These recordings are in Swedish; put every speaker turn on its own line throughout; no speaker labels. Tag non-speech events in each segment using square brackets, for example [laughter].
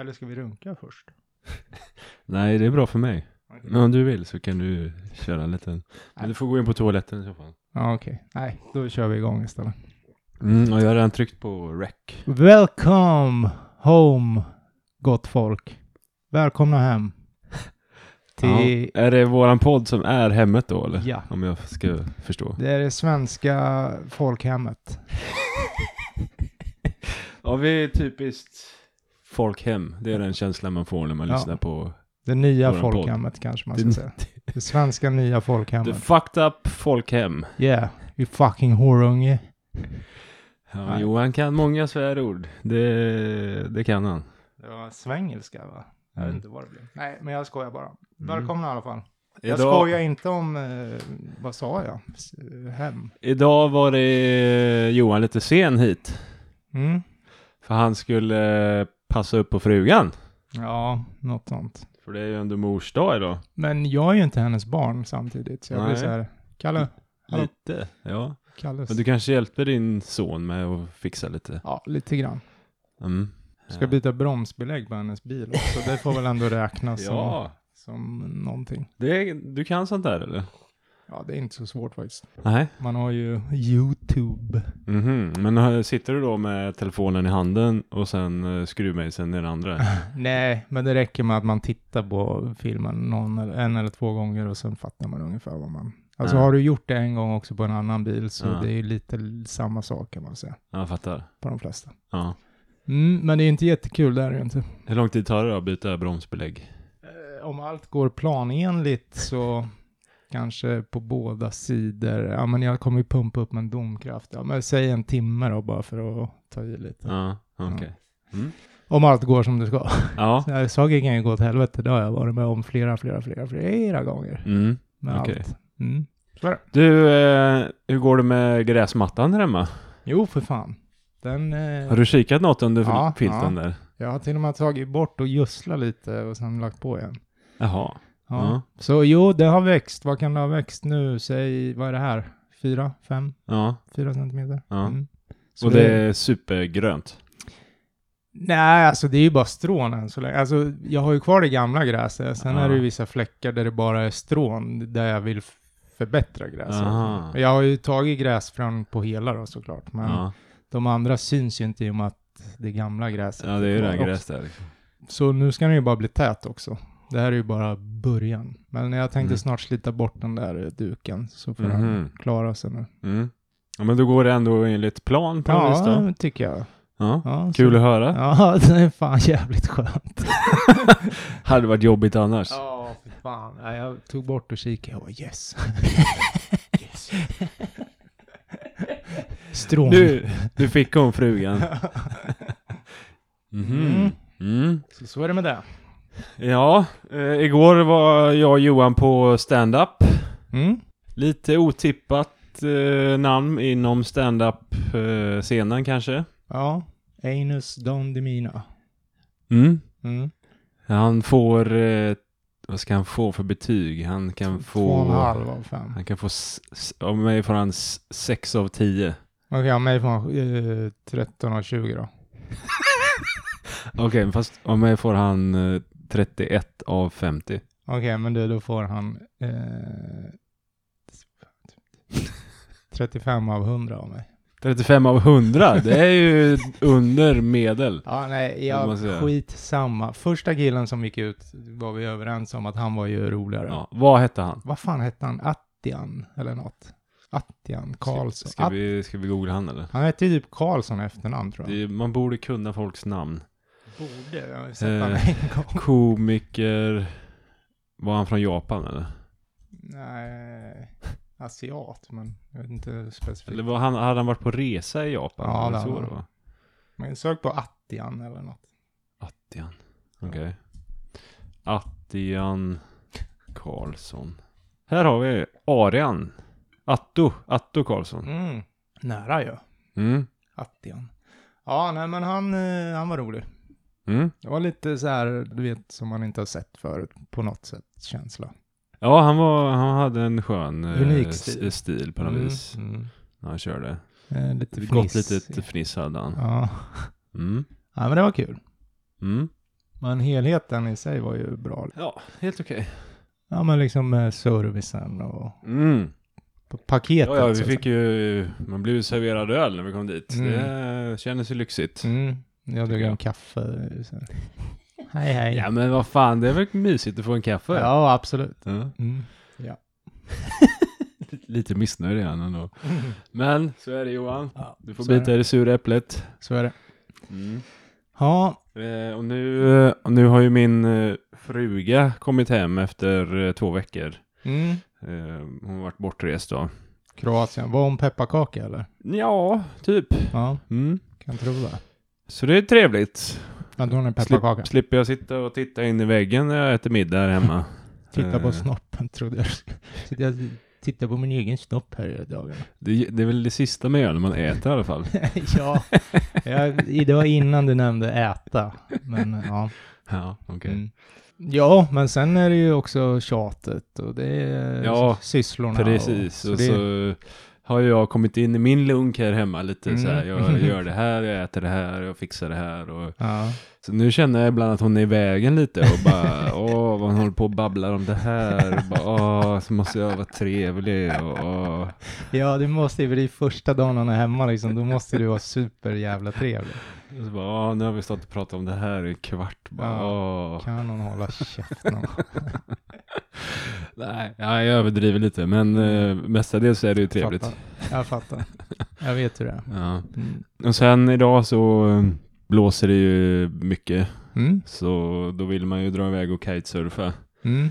Eller ska vi runka först?
Nej, det är bra för mig. Men om du vill så kan du köra en liten. Men du får gå in på toaletten i så fall.
Ja, okej. Nej, då kör vi igång istället.
Mm, och jag har redan tryckt på rec.
Welcome home, gott folk. Välkomna hem. Till,
Ja. Är det våran podd som är hemmet då eller?
ja,
Om jag ska förstå.
det är det svenska folkhemmet.
Ja, vi är typiskt folkhem. Det är den känslan man får när man
Ja.
lyssnar på
Det nya
Våran podd.
folkhemmet kanske man
Det-
ska säga. Det svenska nya
The
folkhemmet.
fucked up folkhem.
Yeah, you fucking horunge.
Ja,
Nej.
Johan kan många svärord. Det, det kan han.
Det var svengelska va? Jag vet
Mm.
inte vad det blev. Nej, men jag skojar bara. Välkomna i alla fall. Jag
Idag,
skojar inte om, eh, vad sa jag? S- eh, Hem.
idag var det Johan lite sen hit.
Mm.
För han skulle eh, passa upp på frugan.
Ja, något sånt.
För det är ju ändå mors dag idag.
Men jag är ju inte hennes barn samtidigt, så jag blir
Nej.
så här, Kalle, Hallå.
Lite, ja.
Kalles.
Men du kanske hjälpte din son med att fixa lite.
Ja, lite grann.
Mm.
Ska byta bromsbelägg på hennes bil också. Det får väl ändå räknas som,
[laughs] Ja,
som någonting.
det, du kan sånt där eller?
Ja, det är inte så svårt faktiskt.
Nej.
Man har ju YouTube.
Mhm. Men eh, sitter du då med telefonen i handen och sen eh, skruvmejseln i
[laughs]
den andra?
Nej, men det räcker med att man tittar på filmen någon, eller- en eller två gånger och sen fattar man ungefär vad man... Alltså
Ja.
har du gjort det en gång också på en annan bil så
Ja.
det är ju lite l- samma sak kan man säga
Ja, jag fattar.
på de flesta.
Ja.
Mm, men det är inte jättekul, det är det ju inte.
Hur lång tid tar det då att byta bromsbelägg?
Eh, Om allt går planenligt så kanske på båda sidor. Ja, men jag kommer ju pumpa upp en domkraft. Ja, men säg en timme då bara för att ta i lite.
Ja, okej.
Om allt går som det ska.
Ja.
Så här, Saker kan ju gå åt helvete. Det har jag varit med om flera, flera, flera, flera gånger.
Mm.
Med
Okej.
allt. Mm.
Du, eh, hur går det med gräsmattan där hemma?
Jo, för fan. Den, eh,
Har du kikat något under
Ja,
filten där?
Jag har till och med tagit bort och gödslat lite och sen lagt på igen.
Jaha.
Ja.
Ja.
Så jo, det har växt. Vad kan det ha växt nu? Säg, vad är det här? Fyra, fem,
Ja.
fyra centimeter?
Ja.
Mm. Så
Och det är supergrönt.
Nej, alltså det är ju bara strån än så länge. Alltså, jag har ju kvar det gamla gräset. Sen
Ja.
är det ju vissa fläckar där det bara är strån, där jag vill f- förbättra gräset.
Aha.
Jag har ju tagit gräsfrön på hela då såklart, men
Ja.
de andra syns ju inte i och med att det gamla gräset
ja, det är ju det
kvar
här
också.
gräs där. liksom.
Så nu ska den ju bara bli tät också. Det här är ju bara början. Men jag tänkte
Mm.
snart slita bort den där eh, duken så får den
Mhm.
klara sig nu.
Mm. Ja, men då går det ändå enligt plan på något vis
Ja,
då?
tycker jag.
Ja.
Ja,
Kul
så,
att höra.
Ja, [laughs] det är fan jävligt skönt.
Hade varit jobbigt annars.
Ja, för fan. Ja, jag tog bort och kikade. Jag bara [laughs] yes. Strån. [laughs]
Du, du fick hon frugan. Mhm. Mm.
Så, så är det med det.
Ja, eh, igår var jag och Johan på stand-up.
Mm.
Lite otippat eh, namn inom stand-up-scenen kanske.
Ja, Anus Don Demina.
Mm.
Mm.
Han får, eh, vad ska han få för betyg? Han kan
Två och en
få,
halv av fem.
han kan få, s- s- av mig får han 6 av 10.
Okej, okay, mig får man eh, 13 av 20 då.
Okej, men fast av mig får han eh, 31 av 50.
Okej, men du, då får han eh, 35 av 100 av mig.
35
[laughs]
av 100, det är ju under medel.
Ja, nej,
Det
jag
måste jag säga.
skitsamma. Första killen som gick ut var vi överens om att han var ju roligare.
Ja, vad hette han?
Vad fan hette han? Attian eller något? Attian Karlsson.
Ska
Att-
vi, ska vi googla han eller?
Han hette ju typ Karlsson i efternamn tror jag.
Det, man borde kunna folks namn.
Borde, jag har ju sett honom
Eh.
en gång.
Komiker, var han från Japan eller?
Nej, asiat, men jag vet inte specifikt.
Eller var han, hade han varit på resa i Japan?
Ja,
Var det
det
så
hade
det
han.
var?
Men sök på Attian eller något.
Attian. Okej. Attian Karlsson. Här har vi Arian. Atto. Atto Karlsson.
Mm. Nära ju.
Mm.
Attian. Ja, nej men han, eh, han var rolig.
Mm.
Det var lite så här, du vet, som man inte har sett förut på något sätt, känsla.
Ja, han, var, han hade en skön eh,
Unik
s-
stil.
stil Mm. på något vis. När han körde. Typ
Eh, lite
Ett gott
fniss.
litet fniss hade han.
Ja.
Mm.
ja, men det var kul.
Mm.
Men helheten i sig var ju bra.
Ja, helt okej.
Ja, men liksom eh, servicen och
Mm.
p- paketet.
Ja, ja,
så
vi
att
fick ju, man blev ju serverad öl när vi kom dit.
Mm.
Det kändes ju lyxigt.
säga. Mm. Jag drog
Tycker jag.
en
[laughs]
kaffe. eh, Sen. Hej, hej.
Ja
Ja,
men vad fan, det är väl mysigt att få en kaffe?
absolut.
Ja.
Mm. [laughs]
Lite missnöjd är han ändå. Men så är det Johan.
Ja,
Du får
så är Mm.
bita i det sura äpplet.
det. Så är det. Ja,
Eh, och nu, eh, och nu har ju min eh, fruga kommit hem efter eh, två veckor.
mm.
Eh, hon har varit bortrest då.
Kroatien. Var hon pepparkaka eller?
Ja, typ.
Ja,
Mm.
kan tro det.
Så det är trevligt.
Att hon är pepparkaka.
Slipp, slipper jag sitta och titta in i väggen när jag äter middag här
[laughs]
hemma.
Titta på
Eh,
snoppen trodde jag. Så jag tittar på min egen snopp här i
[laughs]
dagarna.
Det, det är väl det sista man gör när man äter i alla fall.
ja, jag, det var innan du nämnde äta. Men ja.
Ja, okej.
Mm. Ja, men sen är det ju också tjatet och det är
Ja,
s- sysslorna.
Precis,
och,
och
så det,
så har jag kommit in i min lunk här hemma lite
Mm.
så här. Jag gör det här, jag äter det här, jag fixar det här. Och,
ja.
så nu känner jag ibland att hon är i vägen lite och
[laughs]
bara, åh, vad hon håller på och babblar om det här. Och bara, åh, så måste jag vara trevlig. Och, åh.
ja, du måste ju, för det är första dagen han är hemma liksom, då måste du vara superjävla trevlig.
Och så bara, åh, nu har vi stått och pratat om det här i en kvart. Bara, åh.
Kan hon hålla käften?
Nej, ja, jag överdriver lite, men eh, mestadels är det ju trevligt.
Fattar. Mm. Jag fattar. Jag vet hur det är.
Ja.
Mm.
Och sen idag så eh, blåser det ju mycket.
Mm.
Så då ville man ju dra iväg och kitesurfa.
Mm.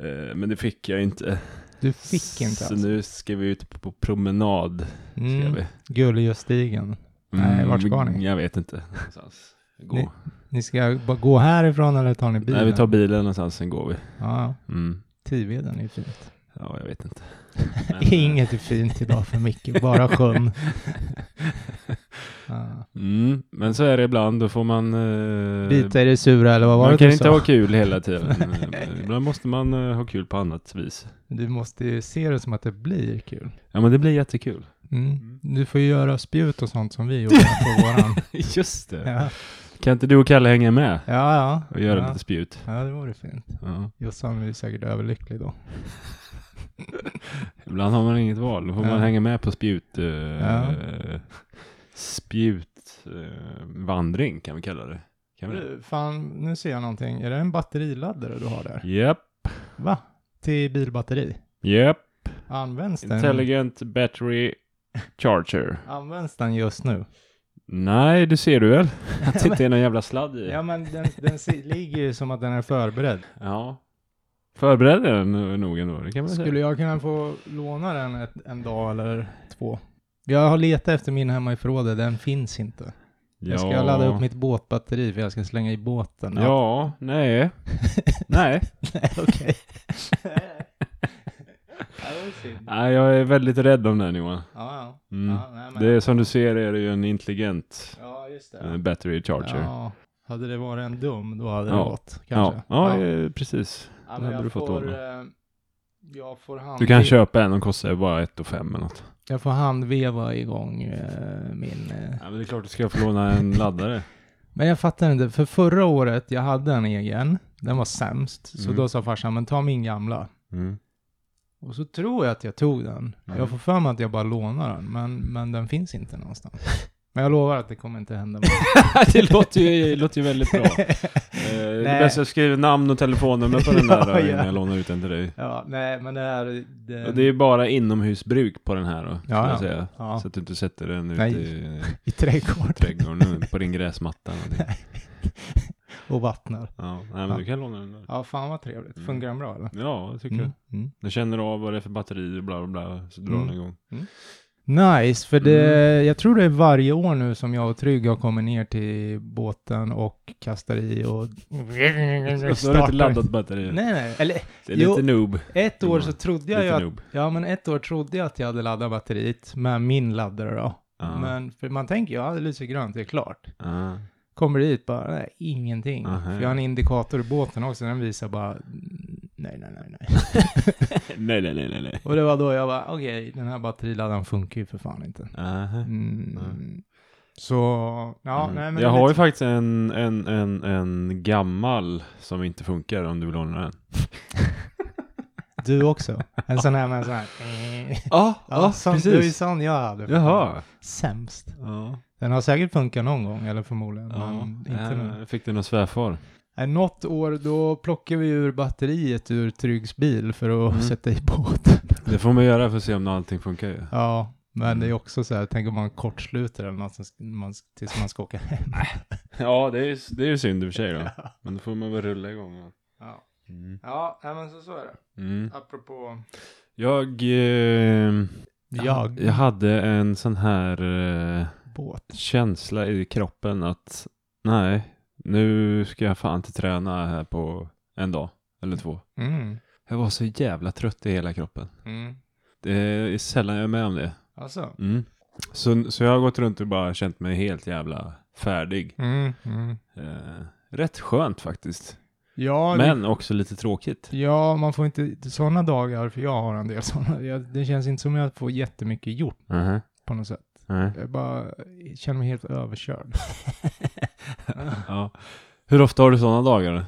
Eh, men det fick jag inte.
Du fick inte
Så
alltså.
nu ska vi ut på promenad. Ska
Mm.
vi.
Gulljöstigen. Nej, vart ska ni?
Jag vet inte. Någonstans. Gå.
Ni- Ni ska bara gå härifrån eller tar ni bilen?
Nej, vi tar bilen någonstans, sen går vi.
Ja,
Mm.
Tiveden är ju fint.
Ja, jag
[laughs]
vet inte. eh,
Inget är fint idag för Micke, bara
[laughs]
sjön. Ja.
Mm. Men så är det ibland, då får man... Eh,
Bita i det sura eller vad var
man
det
kan
du
inte
sa?
ha kul
[laughs]
hela tiden. Eh, ibland måste man eh, ha kul på annat vis.
Du måste ju se det som att det blir kul.
Ja, men det blir jättekul.
Mm. Du får ju göra spjut och sånt som vi gjorde
[laughs]
på våran.
[laughs] Just det.
Ja,
Kan inte du och Kalle hänga med
ja.
och göra
ja.
lite spjut?
ja det vore fint.
Ja.
Jossan blir säkert överlycklig då.
Ibland har man inget val, då får
Ja.
man hänga med på spjut... eh,
Ja.
Spjutvandring eh, kan vi kalla det. Kan vi det?
Du, Eh, Fan, nu ser jag någonting. Är det en batteriladdare du har där?
Japp,
Va? Till bilbatteri?
japp.
Används den,
Intelligent battery charger.
används den just nu?
Nej, det ser du
[laughs]
väl? Att det inte är någon jävla sladd i.
Ja, men den, den si- ligger ju som att den är förberedd.
Ja. Förberedd är den nog ändå, det kan man
Skulle
säga.
jag kunna få låna den ett, en dag eller två? Jag har letat efter min hemma i förrådet, den finns inte. Jag ska ladda upp mitt båtbatteri för jag ska slänga i båten.
Ja, nej. [laughs] nej.
Nej, [laughs] okej. Ja, det var synd.
Nej, jag är väldigt rädd om den Johan.
Ja, ja.
Mm.
Ja, nej, men-
Det är som du ser är det ju en intelligent
ja, just
eh,
det.
battery charger.
Ja. Hade det varit en dum, då hade det
Ja.
gått.
Ja,
Kanske.
ja, eh, precis.
Ja,
det hade
men
du
jag
fått
får...
låna.
eh, Jag får hand...
Du kan köpa en, de kostar ju bara 1 5 eller något.
Jag får handveva igång eh, min... eh.
Ja, men det är klart du ska få låna [laughs] en laddare.
Men jag fattar inte, för förra året, jag hade en egen, den var sämst, så
Mm.
då sa farsan, men ta min gamla.
[laughs] Mm.
Och så tror jag att jag tog den.
Mm.
Jag får för mig att jag bara lånar den, men, men den finns inte någonstans. Men jag lovar att det kommer inte hända mig.
[laughs] det låter ju, låter ju väldigt bra. Eh, det
Nej.
är bäst jag skriver namn och telefonnummer på den [laughs] där
Ja,
då,
ja.
innan jag lånar ut den till dig.
[laughs] ja, nej, men det här... Det,
Och det är ju bara inomhusbruk på den här då, ska
Ja, ja.
jag säga.
ja,
Så att du inte sätter den ute
Nej.
i eh,
i [laughs] trädgården
trädgården på din gräsmatta. eller någonting. [laughs]
och vattnar.
Ja, nej,
Ja.
men du kan låna den där.
Ja, fan vad trevligt.
Mm.
Funkar den bra eller?
Ja, det tycker jag.
Mm. Mm.
Den känner av vad det är för batterier och bla bla bla, så drar
Mm.
den igång.
Nice, för det,
Mm.
jag tror det är varje år nu som jag och Trygg har kommit ner till båten och kastar i och...
Och [laughs] så Alltså, har du inte laddat batteriet.
Nej, nej. Eller
Det är
Jo.
lite noob.
ett år
Ja,
så trodde jag ju
Lite
att...
noob.
Ja, men ett år trodde jag att jag hade laddat batteriet med min laddare då.
Ja.
Men för man tänker ju, ja, det lyser grönt, det är klart.
Ja.
Kommer dit bara, nej, ingenting.
Aha.
För jag har en indikator i båten också, den visar bara, mm, nej, nej, nej,
[laughs]
nej.
Nej, nej, nej, nej, nej.
Och det var då jag bara, okej, den här batteriladdaren funkar ju för fan inte.
Aha.
Mm.
Mm.
Så, ja,
Mm.
nej men...
jag
det är
har ju
lite-
faktiskt en, en, en, en gammal som inte funkar om du vill låna den.
Du också? En sån här med en sån här... eh,
Ja,
Ja, sån, Det var ju sån jag hade.
Jaha.
Sämst.
Ja.
Den har säkert funkat någon gång, eller förmodligen, men inte nu.
Äh, Fick du någon svärfar?
Nej, Något år då plockade vi ur batteriet ur Tryggs bil för att
Mm.
sätta i båten.
Det får man göra för att se om allting funkar ju.
[laughs] Ja, men
Mm.
det är också så här, tänk om man kortsluter eller något som sk- man, tills man ska åka
[laughs]
hem.
Ja, det är ju det är ju synd i och för sig då. Men då Mm. får man väl rulla igång. va?
Ja,
Mm.
ja nej, men så, så är det. Apropå...
Jag, eh,
Jag.
jag hade en sån här eh,
Båt.
känsla i kroppen att nej, nu ska jag fan inte träna här på en dag eller två.
Mm.
Jag var så jävla trött i hela kroppen.
Mm.
Det är sällan jag är med om det.
Alltså.
Mm. Så, så jag har gått runt och bara känt mig helt jävla färdig.
Mm. Mm.
Eh, rätt skönt faktiskt.
Ja, det-
Men också lite tråkigt.
Ja, man får inte sådana dagar, för jag har en del sådana. Det känns inte som att jag får jättemycket gjort
Mhm.
på något sätt.
Mhm.
Jag bara känner mig helt överkörd.
Ja. Hur ofta har du sådana dagar?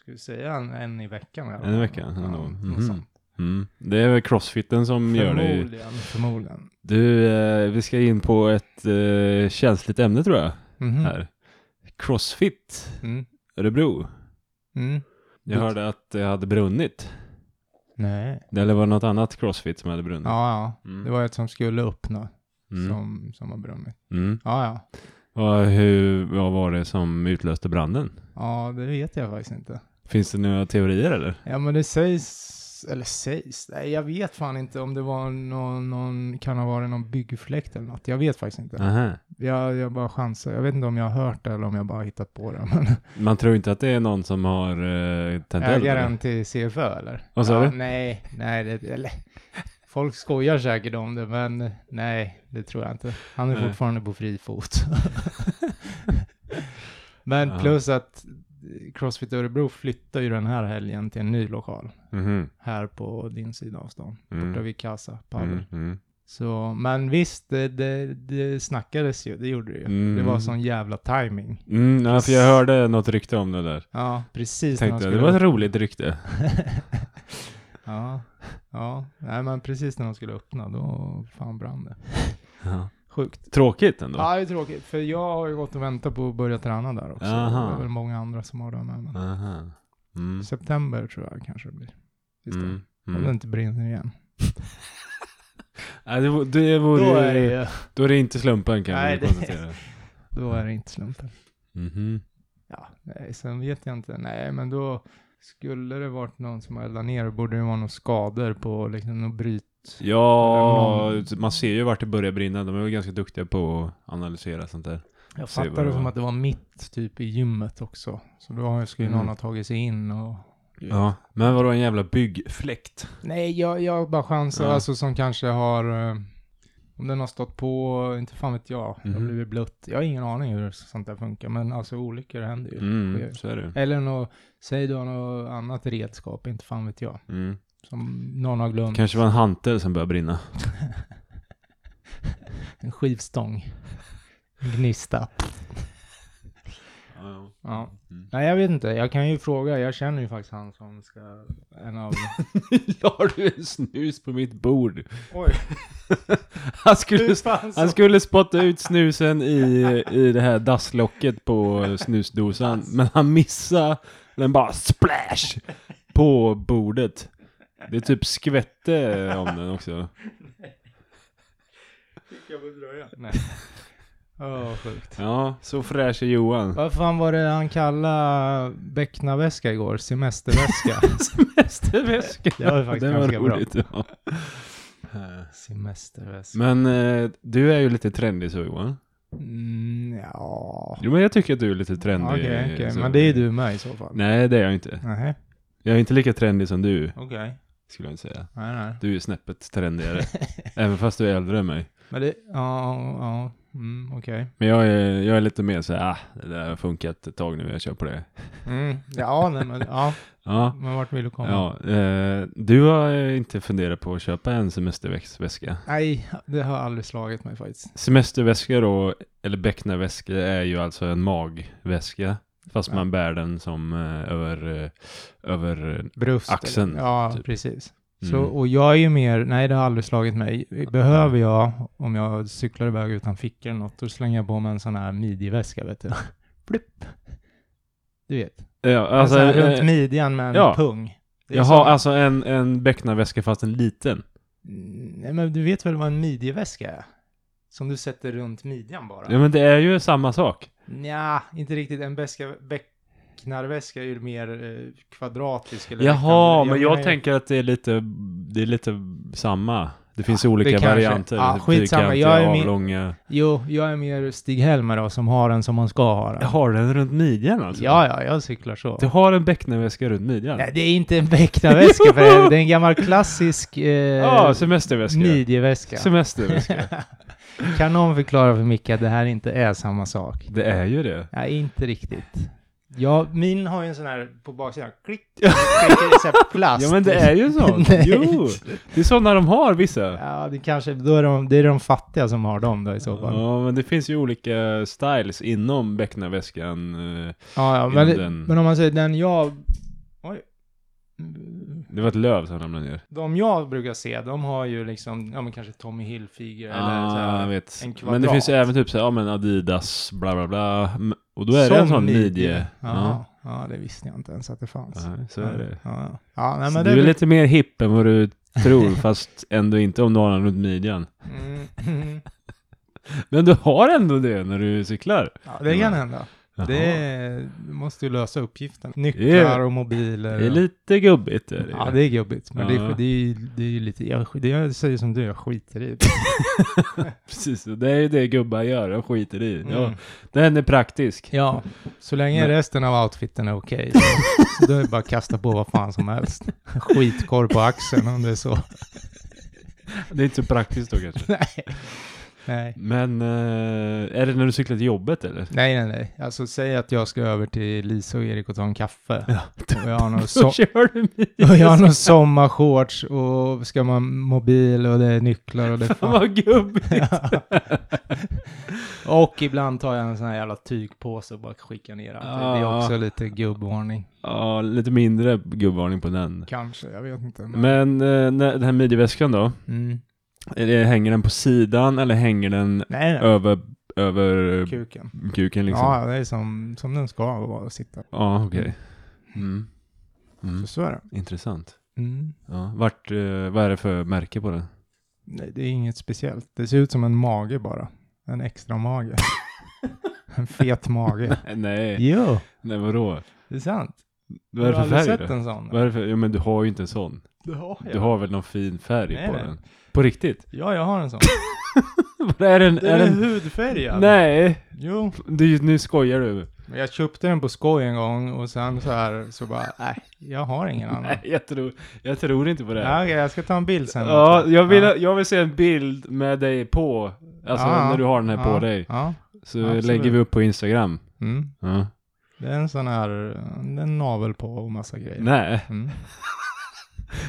Ska vi säga en, en i veckan? Eller?
En i veckan,
Ja,
ändå.
något
Mhm.
sånt.
Mm. Det är väl crossfiten som gör det.
Förmodligen. Förmodligen.
Du, eh, vi ska in på ett eh, känsligt ämne tror jag.
Mhm.
Här. Crossfit
Mm.
Örebro.
Mm.
Jag hörde att det hade brunnit.
Nej.
Eller var det något annat crossfit som hade brunnit?
Ja, ja.
Mm.
Det var ett som skulle upp nu,
Mm.
som, som har brunnit.
Mm.
Ja, ja.
Och hur, vad var det som utlöste branden?
Ja, det vet jag faktiskt inte.
Finns det några teorier eller?
Ja, men det sägs, eller sägs, nej jag vet fan inte om det var någon, någon kan ha varit någon byggfläkt eller något. Jag vet faktiskt inte.
Aha.
Jag, jag bara chansar. Jag vet inte om jag har hört det eller om jag bara har hittat på det. Men
Man tror inte att det är någon som har uh, tänt eld? eller?
ägaren till CFÖ eller?
Vad sa
ja,
du?
Nej, nej, det, eller. Folk skojar säkert om det, men nej, det tror jag inte. Han är
Nej.
fortfarande på fri fot. [laughs] men
Ja.
plus att Crossfit Örebro flyttar ju den här helgen till en ny lokal.
Mhm.
Här på din sida av stan,
Mm.
där vid Casa Pavel.
Mm. Mm.
Så, men visst, det, det, det snackades ju, det gjorde det ju.
Mm.
Det var sån jävla timing.
Mm, ja, för jag hörde något rykte om det där.
Ja, precis. när
Tänkte jag,
de
det
skulle
var ett
upp.
roligt rykte.
[laughs] ja, ja. Nej, men precis när de skulle öppna, då fan brann det.
Ja.
Sjukt.
Tråkigt ändå.
Ja, det är tråkigt, för jag har ju gått och väntat på att börja träna där också.
Aha.
Det är väl många andra som har det med. Men
Aha. Mm.
September tror jag kanske det blir. Visst det?
Mm.
Om det
Mm.
inte brinner igen.
Nej, det vore, det vore,
Då är det, ju-
då är det inte slumpen kan
Nej,
vi
det-
konstatera.
då är det inte slumpen.
Mhm.
Ja, nej, sen vet jag inte. Nej, men då skulle det varit någon som eldade ner, då borde det vara några skador på liksom något bryt.
Ja,
Eller
man ser ju vart det börjar brinna. De är väl ganska duktiga på att analysera sånt där.
Jag
Se vad
fattade
det
det som
var.
att det var mitt typ i gymmet också. Så då har- skulle
Mm.
någon ha tagit sig in och...
Ja, men vadå en jävla byggfläkt?
Nej, jag, jag bara chansar.
Ja.
Alltså som kanske har... eh, Om den har stått på, inte fan vet jag. Det har
Mhm.
blivit blött. Jag har ingen aning hur sånt där funkar. Men alltså olyckor händer ju.
Mm,
Sker.
så är det.
Eller nå, säg du har något annat redskap, inte fan vet jag.
Mm.
Som någon har glömt.
Kanske var en hantel som började brinna.
En skivstång. Gnista.
Ja,
Ja.
Mm.
Nej, jag vet inte. Jag kan ju fråga. Jag känner ju faktiskt han som ska... En av...
[laughs] La du en snus på mitt bord?
[laughs] Oj,
Han skulle,
hur fan så? [laughs]
han skulle spotta ut snusen i, i det här dasslocket på snusdosan, men han missade den bara splash på bordet. Det typ skvätte om den också.
Fick jag på dröjan? [laughs] Nej. Åh, sjukt.
Ja, så fräsch är Johan.
Vad fan var det han kallade becknarväska igår? Semesterväska. [laughs]
Semesterväska.
Det var ju faktiskt
Den var
ganska bra.
roligt. Ja. Eh,
Semesterväska.
Men eh, du är ju lite trendig så Johan.
Mm, ja.
Jo men jag tycker att du är lite trendig.
Okej, okej.
så-
Men det är ju du med i så fall.
Nej det är jag inte.
Nej.
Jag är inte lika trendig som du
Okej.
skulle jag inte säga.
Nej, nej.
Du är snäppet
[laughs]
trendigare. även fast du är äldre än mig.
Men det, ja, ja, mm, okej.
Men jag är, jag är lite mer så här, ah, det där har funkat ett tag nu, jag kör på det.
Mm. Ja, nej, men, ja,
Ja,
men vart vill du komma?
ja eh, du har eh, inte funderat på att köpa en semesterväska?
Nej, det har aldrig slagit mig faktiskt.
Semesterväska då, eller becknarväska, är ju alltså en magväska. Fast
Ja.
man bär den som eh, över, eh, över, mm.
Bröst.
Axeln,
Eller, ja,
typ.
precis.
Mm.
Så, och jag är ju mer, nej det har aldrig slagit mig. Behöver jag, om jag cyklar iväg utan fickor eller något, då slänger jag på mig en sån här midjeväska, vet du. [laughs] Blipp. Du vet.
ja,
Alltså,
alltså,
en sån här
eh,
runt midjan med en
ja.
pung. Det är
jaha,
som-
alltså en, en becknarväska fast en liten.
Mm, Nej, men du vet väl vad en midjeväska är? Som du sätter runt midjan bara.
Ja men det är ju samma sak.
Nja, inte riktigt. En bäska, becknarväska är ju mer eh, kvadratisk. Eller
Jaha, men jag
menar ju-
tänker att det är lite, det är lite samma. Det finns
det
olika
kanske-
varianter.
ja,
typ
skitsamma,
fyrkantiga,
jag är med-
avlånga.
Jo, jag är mer Stig-Helmer då, som har den som man ska ha den.
Jag har den runt midjan alltså?
Ja, ja, jag cyklar så.
Du har en becknarväska runt midjan?
Nej, det är inte en becknarväska för helvete. Det är en gammal klassisk eh,
[laughs] Ja, semesterväska.
midjeväska.
Semesterväska.
[laughs] kan någon förklara för Micke att det här inte är samma sak?
det är ju det.
Nej, inte riktigt. Ja, min har ju en sån här på baksidan. Klick!
[laughs]
klick det är så här plast.
Ja men det är
[laughs]
ju så.
Nej.
Jo, det är sådana de har vissa.
Ja, det kanske, då är de, det är de fattiga som har dem då i så fall. Ja,
Ja men det finns ju olika styles inom becknarväskan. eh,
ja,
Inom
men, det,
den-
men om man säger den jag... Oj.
Det var ett löv som ramlade ner.
De jag brukar se, de har ju liksom, ja men kanske Tommy Hilfiger eller så
ah, jag
här.
vet.
en kvadrat.
Men det finns ju även typ så här, ja men Adidas, bla bla bla. M- Och då är det en sån midje.
Ja. ja, det visste jag inte ens att det fanns.
Ja, så är det.
Ja, ja. ja nej,
Så
men
du
det
är
bruk-
lite mer hipp än vad du tror, [laughs] fast ändå inte om du har den runt midjan.
Mm. [laughs]
Men du har ändå det när du cyklar.
Ja, det kan hända.
Jaha.
Det är, du måste ju lösa uppgiften. Nycklar
Yeah.
och mobiler.
Det är
och-
lite gubbigt. Är det.
Ja, det är jobbigt. Men det, är,
Ja.
det, är, det är ju lite... Jag, det jag säger som du, jag skiter i det.
Precis, och det är ju det gubbar gör, de skiter i. Ja,
Mm.
den är praktisk.
Ja, så länge
Men-
resten av outfiten är
[laughs]
okej. så- så då är det bara att kasta på vad fan som helst. Skitkorv på axeln om det är så.
Det är inte så praktiskt då
[laughs]
kanske.
Nej.
Men eh, är det när du cyklar till jobbet eller?
Nej, nej, nej. Alltså säg att jag ska över till Lisa och Erik och ta en kaffe.
Ja.
Och jag har någon,
[laughs] Så
so- [laughs]
kör du
och jag har
midjan.
någon sommarshorts och ska man mobil och det är nycklar [laughs] och det är fan.
[laughs] Vad gubbigt.
Och ibland tar jag en sån här jävla tygpåse och bara skickar ner allt. Det är
Ja.
också lite gubbvarning.
Ja, lite mindre gubbvarning på den.
Kanske, jag vet inte. Men...
Men eh, när, den här midjeväskan då?
Mm.
Är det, hänger den på sidan eller hänger den
Nej, nej.
över, över
Kuken.
kuken liksom?
Ja, det är som, som den ska vara och sitta.
Ja, okej. Mm. Mm.
Så, så är det.
Intressant.
Mm.
Ja. Vart, eh, vad är det för märke på den?
Nej, det är inget speciellt. Det ser ut som en mage bara. En extra [laughs] mage. en fet
[laughs]
mage.
Eh, Nej,
Jo,
nej vadå?
det är sant.
Vad är det
har
för
aldrig
färg
sett
då?
en sån?
Vad är det för, ja, men du har ju inte en sån.
Det har
Du har väl någon fin färg
Nej,
på
nej.
den? På riktigt? [laughs]
Ja, jag har en sån.
Vad är den?
Den
Är
är
den
hudfärgad.
nej!
Jo.
Du, nu skojar du.
Men jag köpte den på skoj en gång och sen så här så bara, [laughs] nej, jag har ingen annan.
Nej, jag tror, jag tror inte på det.
Ja,
här.
okej, jag ska ta en bild sen.
Ja, jag vill,
Ja.
jag vill se en bild med dig på. Alltså
Ja,
när du har den här
ja,
på dig.
Ja.
Så
absolut.
lägger vi upp på Instagram.
Mm.
Ja.
Det är en sån här, det är en navel på och massa grejer.
Nej, [laughs]
Mm.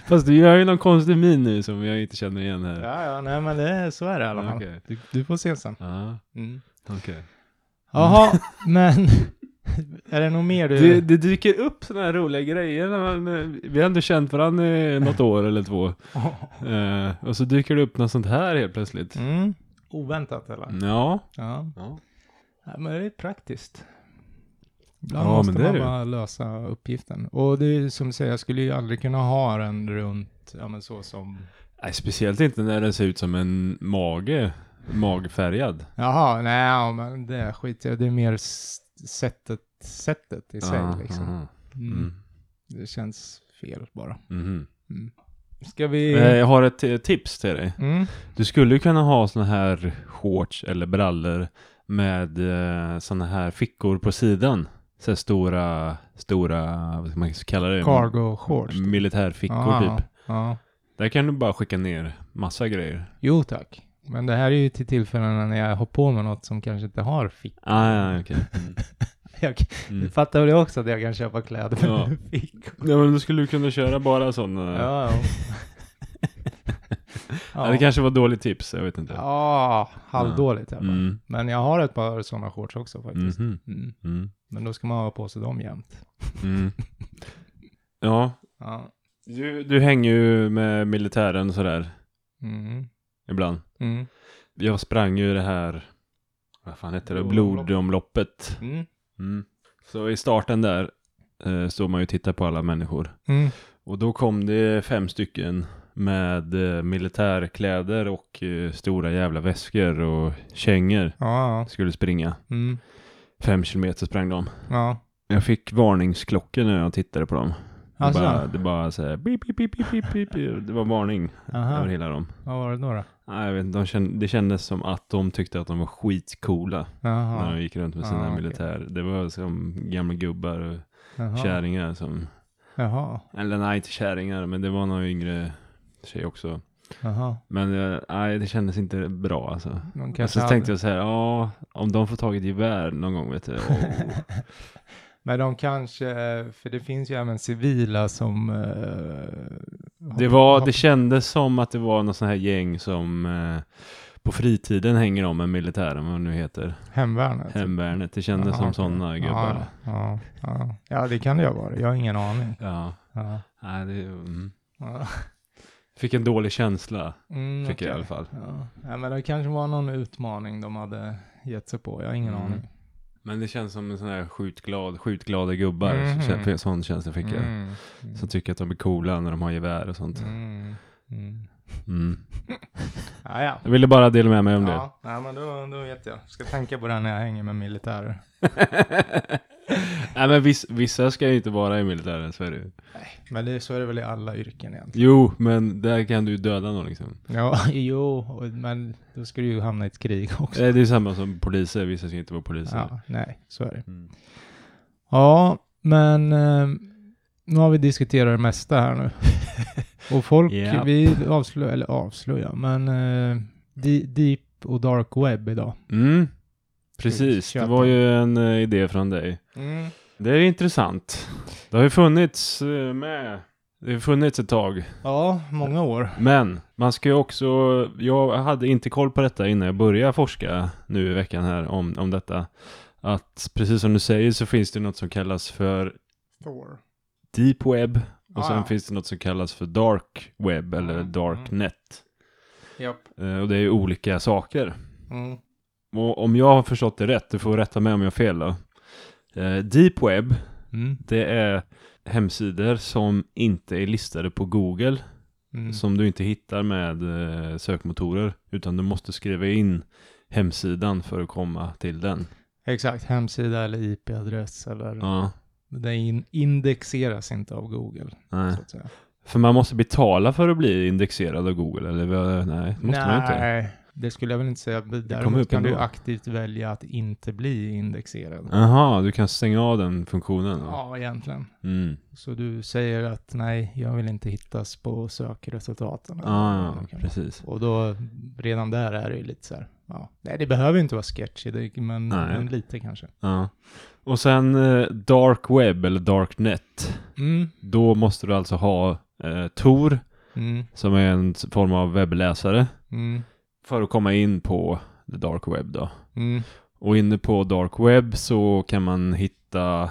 fast du gör ju någon konstig min nu som jag inte känner igen här.
Ja, ja, nej men det, är- så är det i alla fall.
Okej.
Du, du får se sen.
Ja,
Mm.
okej. [laughs]
Jaha, men [laughs] är det något mer du...
Mm. Det, det dyker upp sådana här roliga grejer. När man, eh, vi har ändå känt varandra i något år eller två. Eh, och så dyker det upp något sånt här helt plötsligt.
Mm. Oväntat eller?
Ja.
Mm. Ja.
Ja.
Nej, men det är praktiskt. Ibland
Ja,
måste
men det är
man
det ju.
bara lösa uppgiften. Och det är ju som du säger, jag skulle ju aldrig kunna ha den runt, ja men så som...
Nej, speciellt inte när den ser ut som en mage. Magfärgad.
Jaha, nej ja, men det skiter jag Det är mer s- sättet, sättet i sig
Ja,
liksom.
aha.
Mm.
Mm.
Det känns fel bara.
Mhm.
Mm. Ska vi...
Eh, Jag har ett eh, tips till dig.
Mm.
Du skulle ju kunna ha såna här shorts eller brallor med eh, såna här fickor på sidan. Så här stora, stora, vad ska man kalla det?
Cargo shorts.
Militärfickor
Ja,
typ.
Ja.
Där kan du bara skicka ner massa grejer.
Jo tack. Men det här är ju till tillfällen när jag har på mig något som kanske inte har fickor.
Ah, ja, okej.
[laughs] Jag
Mm.
fattar väl också att jag kan köpa kläder med
Ja.
fickor.
[laughs] ja, men du skulle ju kunna köra bara eh, sådana. Ja.
Ja,
[laughs]
ja.
Det kanske var dåligt tips, jag vet inte.
Ja, halvdåligt i alla fall.
Mm.
Men jag har ett par sådana shorts också faktiskt.
Mhm.
Mm.
Mm.
Men då ska man ha på sig dem jämt.
Mm. Ja,
Ja.
du, du hänger ju med militären sådär
Mm.
ibland.
Mm.
Jag sprang ju det här, vad fan heter det,
Blodomlopp.
blodomloppet.
Mm.
Mm. Så i starten där eh, stod man ju och tittade på alla människor.
Mm.
Och då kom det fem stycken med eh, militärkläder och eh, stora jävla väskor och kängor.
Ja, ja.
Skulle springa.
Mm.
Fem kilometer sprang de.
Ja.
Jag fick varningsklockor när jag tittade på dem. Det
Alltså?
bara, det bara så här, beep, beep, beep, beep, beep, beep. Det var varning över
Aha.
hela dem.
Vad var det då? då?
Nej, jag vet, inte, de känd, det kändes som att de tyckte att de var skitcoola när
Jaha.
de gick runt med sina
Ah, okej.
militär. Det var som gamla gubbar och
Jaha.
kärringar som,
Jaha.
eller nej inte kärringar, men det var någon yngre tjej också.
Jaha.
Men eh, nej, det kändes inte bra alltså.
De
Och
kanske
så
hade-
tänkte jag så här, ja, om de får tag i ett gevär någon gång vet du. åh.
[laughs] Men de kanske, eh, för det finns ju även civila som... eh,
Det,
har-
var,
har-
det kändes som att det var någon sån här gäng som eh, på fritiden hänger om med militären, vad det nu heter.
Hemvärnet.
Hemvärnet. Det kändes
typ. Ja,
som
okej.
sådana gubbar.
Ja, ja, ja. ja, det kan det ju vara. Jag har ingen aning.
Ja.
Ja.
Nej, det, mm.
Ja.
Fick en dålig känsla,
Mm,
fick jag i
okej.
alla fall.
Ja. ja, men det kanske var någon utmaning de hade gett sig på. Jag har ingen
Mm.
aning.
Men det känns som en sån här skjutglad, skjutglada gubbar.
Mhm.
Så- för- Sån känsla fick jag.
Mm. Mm.
Som tycker att de är coola när de har gevär och sånt.
Mm. Mm.
Mm.
Ja, ja.
Jag ville bara dela med mig om det.
Ja, nej, men då, då vet jag. Ska tänka på det här när jag hänger med militärer.
[laughs] Nej men viss, vissa ska ju inte vara i militären, så är det ju.
Men det, så är det väl i alla yrken egentligen.
Jo, men där kan du ju döda någon liksom.
Ja, [laughs] jo, och- men då ska du ju hamna i ett krig [laughs] också.
Eh, Det är samma som poliser, vissa ska inte vara poliser.
Ja, nej, så är det.
Mm.
Ja, men eh, nu har vi diskuterat det mesta här
[laughs]
nu. Och folk,
Japp.
vi avslöjar, eller avslöjar, men eh, di- deep och dark web idag.
Mm. Precis, det
Köpa.
var ju en eh, idé från dig. Det är intressant. Det har ju funnits eh, med. Det har funnits ett tag.
Ja, många år.
Men man ska ju också, jag hade inte koll på detta innan jag började forska nu i veckan här om, om detta. Att precis som du säger så finns det något som kallas för
Thor.
deep web och
Ah,
sen
ja.
finns det något som kallas för dark web eller
Mm,
dark
mm.
net.
Japp.
Eh, Och det är ju olika saker.
Mm.
Och om jag har förstått det rätt, du får rätta mig om jag har fel då. Eh, Deep web,
Mm.
det är hemsidor som inte är listade på Google,
Mm.
som du inte hittar med eh, sökmotorer, utan du måste skriva in hemsidan för att komma till den.
Exakt, hemsida eller IP-adress eller...
Ja,
Det in- indexeras inte av Google,
nej.
så att säga.
För man måste betala för att bli indexerad av Google, eller vad- nej, det måste man ju inte.
Nej, det skulle jag väl inte säga.
kommer
Däremot
upp
kan du
ändå.
aktivt välja att inte bli indexerad.
Jaha, du kan stänga av den funktionen. då.
Ja, egentligen.
Mm.
Så du säger att nej, jag vill inte hittas på sökresultaten.
Ja, ja, Ah, precis.
Och då, redan där är det ju lite så här, ja. Nej, det behöver ju inte vara sketchy, det, men,
Nej.
men lite kanske.
Ja. Och sen eh, dark web, eller dark net.
Mm,
Då måste du alltså ha eh, Tor,
mm,
som är en s- form av webbläsare,
mm,
för att komma in på the dark web då.
mm,
Och inne på dark web så kan man hitta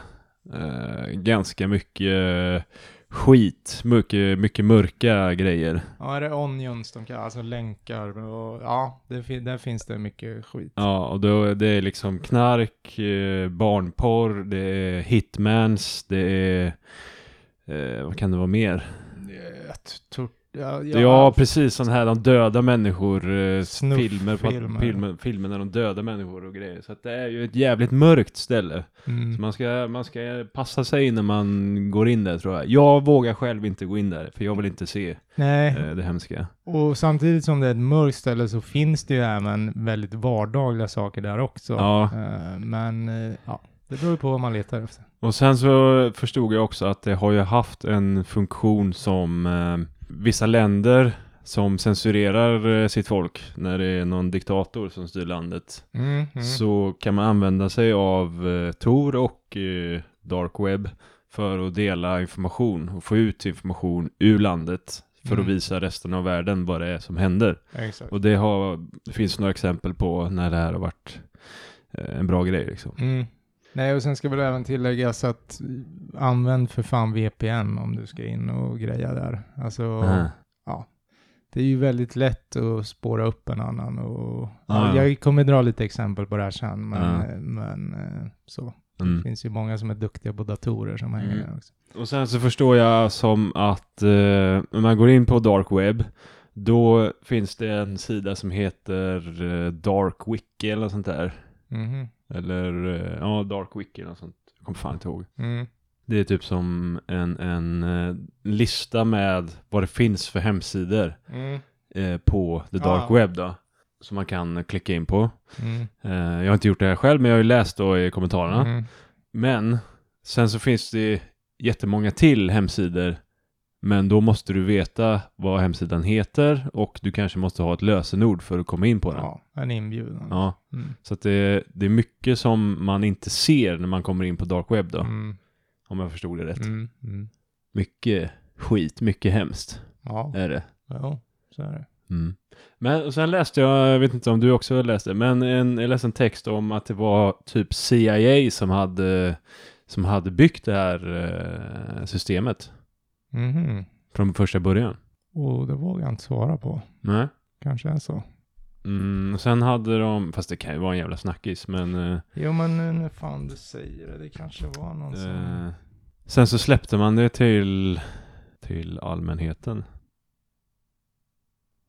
eh, ganska mycket eh, skit, mycket, mycket mörka grejer.
Ja, är det onions de kallar, alltså länkar och ja, det, fin- där finns det mycket skit.
Ja, och då, det är liksom knark, eh, barnporr, det är hitmans, det är, eh, vad kan det vara mer?
Det är ett tur- Ja,
Ja, precis. Sån här de döda människor, eh,
Snuff-
filmer, på,
filmer.
filmer, filmer när de döda människor och grejer. Så att det är ju ett jävligt mörkt ställe. Så
mm.
man ska, man ska passa sig när man går in där tror jag. Jag vågar själv inte gå in där, för jag vill inte se
Nej,
eh, det hemska.
och samtidigt som det är ett mörkt ställe så finns det ju även väldigt vardagliga saker där också.
Ja.
Eh, Men eh, ja, det beror ju på vad man letar efter.
Och sen så förstod jag också att det har ju haft en funktion som eh, vissa länder som censurerar eh, sitt folk när det är någon diktator som styr landet.
Mm, mm.
så kan man använda sig av eh, Tor och eh, Dark Web för att dela information och få ut information ur landet för
Mm.
att visa resten av världen vad det är som händer.
Exakt.
Och det, har, det finns några exempel på när det här har varit eh, en bra grej liksom.
Mm. Nej, och sen ska väl även tilläggas att eh, använd för fan VPN om du ska in och greja där. Alltså,
Aha.
det är ju väldigt lätt att spåra upp en annan och
Ja,
ja,
ja.
jag kommer dra lite exempel på det här sen, men,
Ja.
eh, men eh, så. Det
Mm.
finns ju många som är duktiga på datorer som hänger
Mm.
där också.
Och sen så förstår jag som att eh, när man går in på Dark Web då finns det en sida som heter eh, Dark Wiki eller något sånt där.
Mhm.
Eller eh, ja, Dark Wiki eller något sånt. Jag kommer fan inte ihåg.
Mm.
Det är typ som en, en eh, lista med vad det finns för hemsidor
Mm.
eh, på the dark
Ja.
web då. Som man kan klicka in på.
Mm.
Eh, jag har inte gjort det här själv men jag har ju läst då i kommentarerna.
Mm.
Men sen så finns det jättemånga till hemsidor. Men då måste du veta vad hemsidan heter och du kanske måste ha ett lösenord för att komma in på den.
Ja, en inbjudan.
Ja,
Mm.
så att det, det är mycket som man inte ser när man kommer in på dark web då.
Mm.
Om jag förstod det rätt.
Mm. Mm.
Mycket skit, mycket hemskt
Ja,
är det.
jo, så är det.
Men och sen läste jag, jag vet inte om du också läste, men en, jag läste en text om att det var typ CIA som hade, som hade byggt det här eh, systemet
Mhm.
från första början.
Och det vågar jag inte svara på.
Nej.
Kanske är så.
Mm, och sen hade de, fast det kan ju vara en jävla snackis, men eh,
Jo, men nu när fan du säger det, det kanske var någon som...
eh, sen så släppte man det till, till allmänheten.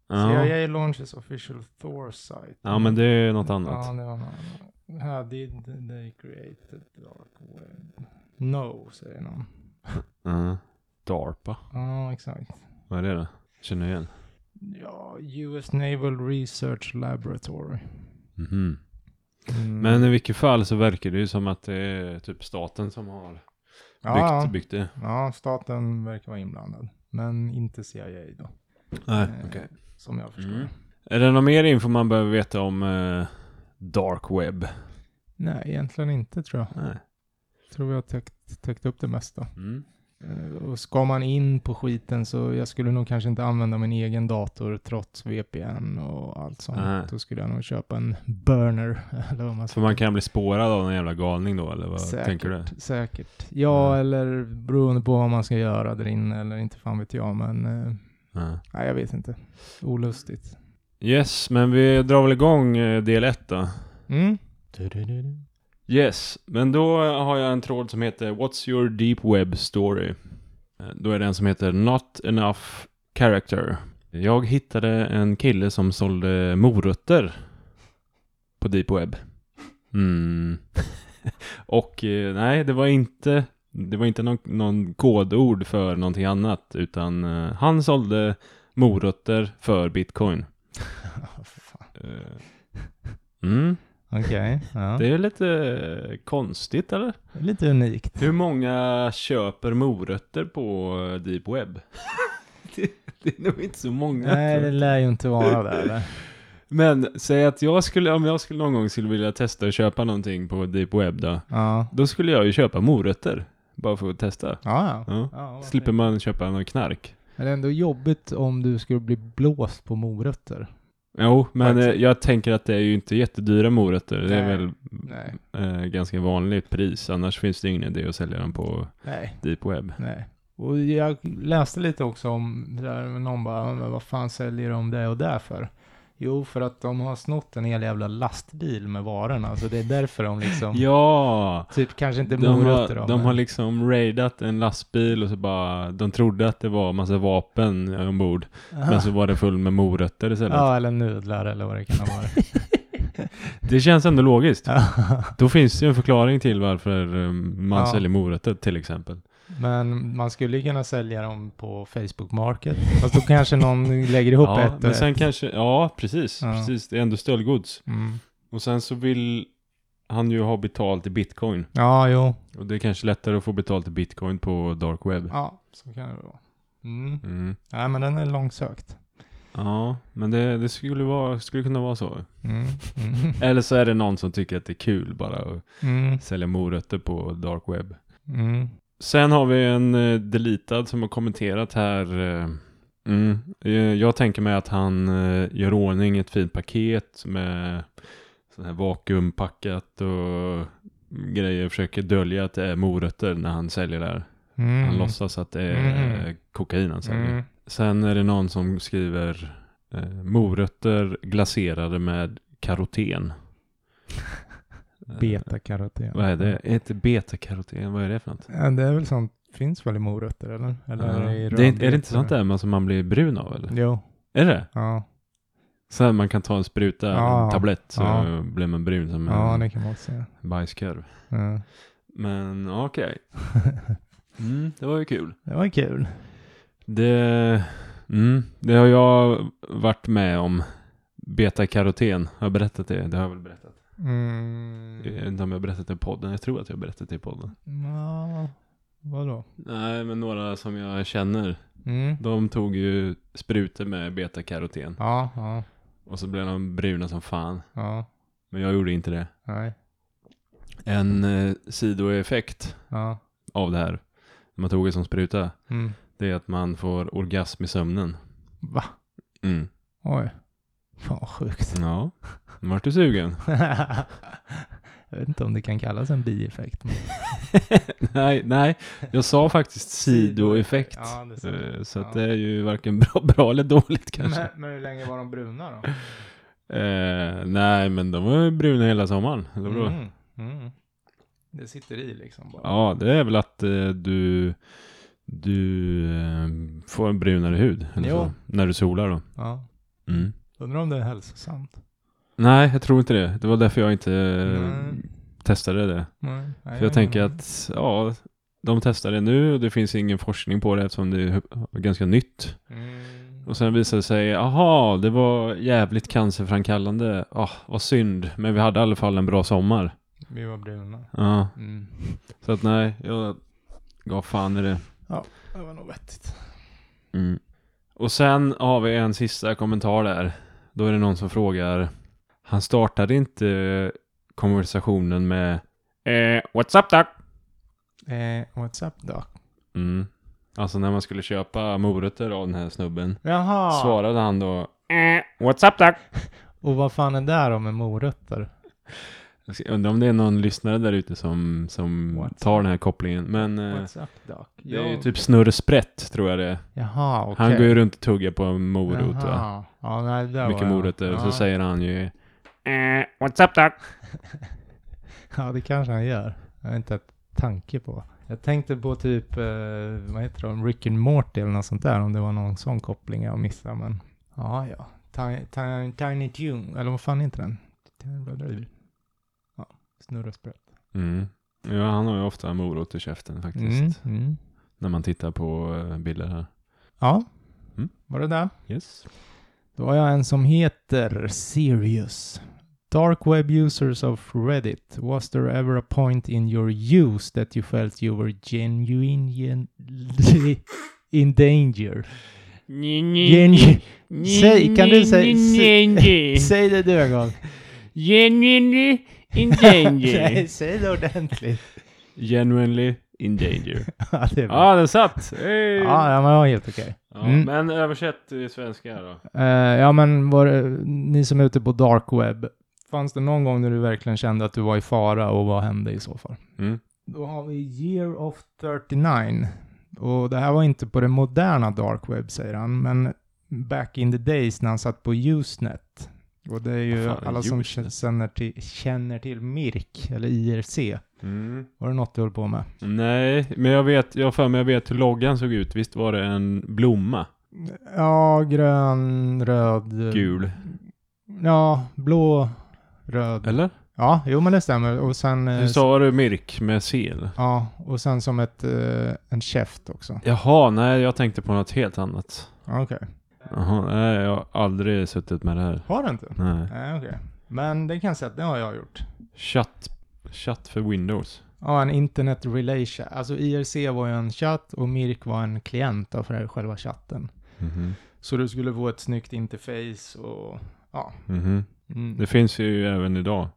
Ja.
CIA launches official Thor site.
ja, men det är något annat.
Ja, det var något annat. How did they create the dark web? No, säger någon.
Ja. DARPA.
Ja, exakt.
Vad är det då? Känner igen.
Ja, US Naval Research Laboratory.
Mhm.
Mm.
Men i vilket fall så verkar det ju som att det är typ staten som har byggt,
ja, ja.
byggt det.
ja, staten verkar vara inblandad. Men inte CIA då.
Nej,
Eh, Som jag förstår
Mm.
det.
Är det någon mer info man behöver veta om eh, dark web?
Nej, egentligen inte tror jag.
Nej.
Tror vi har täckt, täckt upp det mesta.
Mm.
Eh, Och ska man in på skiten så jag skulle nog kanske inte använda min egen dator trots VPN och allt sånt.
Nej.
Då skulle jag nog köpa en burner. [laughs] Eller vad man
För man kan bli spårad av någon jävla galning då, eller vad
Säkert.
tänker du?
Säkert. Ja,
Mm.
eller beroende på vad man ska göra där inne eller inte fan vet jag. Men eh,
Ja.
nej, jag vet inte. Olustigt.
Yes, men vi drar väl igång eh, del 1 då.
Mm. [laughs]
Yes, men då har jag en tråd som heter What's your deep web story? Eh, Då är det en som heter Not enough character. Jag hittade en kille som sålde morötter på deep web. Mm. [laughs] Och eh, nej, det var inte, det var inte någon, någon kodord för någonting annat, utan eh, han sålde morötter för bitcoin.
Fan.
Eh, Mm.
Okej, ja.
Det är lite eh, konstigt eller?
det är lite unikt.
Hur många köper morötter på eh, deep web? [laughs] det, det är nog inte så många.
Nej,
tror
det
jag.
lär ju inte vara där. eller?
Men säg att jag skulle, om jag skulle någon gång skulle vilja testa att köpa någonting på deep web då.
Ja,
Då skulle jag ju köpa morötter. Bara för att testa.
ja. ja.
Ja.
ja varför
Slipper man köpa någon knark.
Men det är ändå jobbigt om du skulle bli blåst på morötter.
Jo, men eh,
Faktiskt.
jag tänker att det är ju inte jättedyra morötter. Det är
Nej.
väl
Nej.
eh, ganska vanligt pris. Annars finns det ingen idé att sälja dem på
Nej.
deep web.
Nej. Och jag läste lite också om det där med någon bara, men vad fan säljer de det och där för? Jo, för att de har snott en hel jävla lastbil med varorna, så det är därför de liksom,
Ja!
typ kanske inte
De
morötter
har,
då,
de
men-
har liksom raidat en lastbil och så bara, de trodde att det var massa vapen ombord. Men så var det full med morötter istället.
Ah. Ja, eller nudlar eller vad det kan ha
[laughs]
varit.
Det känns ändå logiskt.
Ja.
Då finns det ju en förklaring till varför eh, man
Ja.
säljer morötter till exempel.
Men man skulle ju kunna sälja dem på Facebook Market. Fast då kanske någon lägger ihop
Ja,
ett eh, och
men sen
ett.
kanske, ja precis,
Ja.
precis. Det är ändå stöldgods.
Mm.
Och sen så vill han ju ha betalt i bitcoin.
Ja, jo.
Och det är kanske lättare att få betalt i bitcoin på dark web.
Ja, så kan det vara. Mm.
Mm.
Nej, men den är långsökt.
Ja, men det, det skulle, vara, skulle kunna vara så.
Mm. Mm.
Eller så är det någon som tycker att det är kul bara att
Mm.
sälja morötter på dark web.
Mm.
Sen har vi en eh, deletad som har kommenterat här. eh, Mm. eh, Jag tänker mig att han eh, gör ordning ett fint paket med sån här vakuumpackat och grejer. Försöker dölja att det är morötter när han säljer det här.
Mm.
Han låtsas att det är
Mm.
eh, kokain han säljer.
Mm.
Sen är det någon som skriver eh, morötter glaserade med
[laughs]
karoten. Eh,
Betakaroten.
Vad är det? Inte betakaroten, vad är det för något?
Ja, det är väl sånt, finns väl i morötter eller? eller
Ja.
i
det är, inte- är det
rödbetor?
inte sånt där man- som man blir brun av eller?
Jo,
Är det?
ja.
Så här, man kan ta en spruta,
Ja.
en tablett, så
Ah. Ja.
blir man brun som
Ja,
en
det kan man också säga.
bajskorv.
Ja. [laughs]
Men okej. Mm, det var ju kul.
Det var kul.
Det, mm, det har jag varit med om. Betakaroten, har jag berättat det? Det har jag väl berättat.
Mm.
Jag vet inte om jag har berättat det i podden, jag tror att jag har berättat det i podden.
Ja, vadå?
Nej, men några som jag känner,
Mm.
de tog ju sprutor med betakaroten.
Ja, ja,
Och så blev de bruna som fan.
ja.
Men jag gjorde inte det.
Nej.
En eh, sidoeffekt
Ja.
av det här, när man tog det som spruta,
Mm.
det är att man får orgasm i sömnen.
Va?
Mm.
Oj. Fan vad sjukt. [laughs]
Ja, nu vart du sugen.
Jag vet inte om det kan kallas en bieffekt. [laughs] men-
nej, nej, jag sa faktiskt sidoeffekt.
Ja, det ser jag.
Eh, Så att
Ja.
det är ju varken bra, [laughs] bra eller dåligt kanske.
men, men hur länge var de bruna då?
Eh, nej, men de var ju bruna hela sommaren. Eller vadå?
Mm. Mm. Det sitter i liksom bara.
Ja, det är väl att eh, du, du eh, får en brunare hud. Eller
Jo.
så, när du solar då.
Ja.
Mm.
Undrar om det är hälsosamt?
Nej, jag tror inte det. Det var därför jag inte eh,
Nej.
testade det.
Nej.
För jag tänker att, ja, de testar det nu och det finns ingen forskning på det eftersom det är ganska nytt.
Mm.
Och sen visade det sig, aha, det var jävligt cancerframkallande. Ah, vad synd, men vi hade i alla fall en bra sommar.
Vi var bruna.
Ja,
Mm.
så att nej, jag gav fan i det.
Det var nog vettigt.
Mm. Och sen har vi en sista kommentar där. Då är det någon som frågar, han startade inte eh, konversationen med eh, What's up doc?
Eh, what's up doc?
Mm. Alltså när man skulle köpa morötter av den här snubben
Jaha!
svarade han då eh, What's up doc?
Och vad fan är det då med morötter?
Eh. Jag ska- undrar om det är någon lyssnare där ute som, som
What's
tar den här kopplingen. Men eh,
What's up doc?
det är ju
Jag-
typ Snurre Sprätt tror jag det är.
Jaha, okej.
Han går ju runt och tuggar på en morot va?
Jaha. Ja, nej, det där
Mycket
var jag-
morötter.
Ja.
Så säger han ju eh, What's up doc?
Ja, det kanske han gör. Jag har inte haft tanke på. Jag tänkte på typ, eh, vad heter de, Rick and Morty eller något sånt där, om det var någon sån koppling jag missade, men ja, ja. Ti- ti- Tiny Tune, eller vad fan heter den? Ja, snurra sprätt.
Mm. Ja, han har ju ofta en morot i käften faktiskt.
Mm, mm.
När man tittar på eh, bilder här.
Ja,
Mm.
var det där?
Yes.
Då har jag en som heter Sirius. Dark web users of Reddit. Was there ever a point in your use that you felt you were genuinely [laughs] in danger? Genu- Säg- kan du säga- [laughs] Säg det du en gång.
Genuinely in
Nej, [laughs]
danger.
säg det ordentligt. [laughs]
Genuinely in danger.
ja, det är
[laughs] Ja,
bra.
den satt! Hey.
Ja, ja, men det var helt okej.
Ja,
Mm.
Men översätt till svenska då.
Eh, ja, men var, det- ni som är ute på dark web, fanns det någon gång när du verkligen kände att du var i fara och vad hände i så fall?
Mm.
Då har vi Year of 39. Och det här var inte på det moderna dark web, säger han, men back in the days när han satt på Usenet. Och det är ju
Vad fan är
alla som
juice?
k- känner till, känner till Mirk, eller IRC.
Mm.
Var det något du höll på med?
Nej, men jag vet, jag har för mig jag vet hur loggan såg ut. Visst var det en blomma?
Ja, grön, röd.
Gul.
Ja, blå, röd.
Eller?
Ja, jo men det stämmer. Och sen... eh,
Hur sa du myrk med C? eller?
Ja, och sen som ett, eh, en käft också.
Jaha, nej jag tänkte på något helt annat.
Okej.
Jaha, nej jag har aldrig suttit med det här.
Har du inte?
Nej.
Nej, okej. Men det kan jag säga att det har jag gjort.
Chatt. Chatt för Windows.
Ja, en internet relay chat. Alltså IRC var ju en chatt och Mirk var en klient av för själva chatten.
Mhm.
Så du skulle få ett snyggt interface och ja.
Mhm.
Mm.
Det
Det,
finns ju även idag.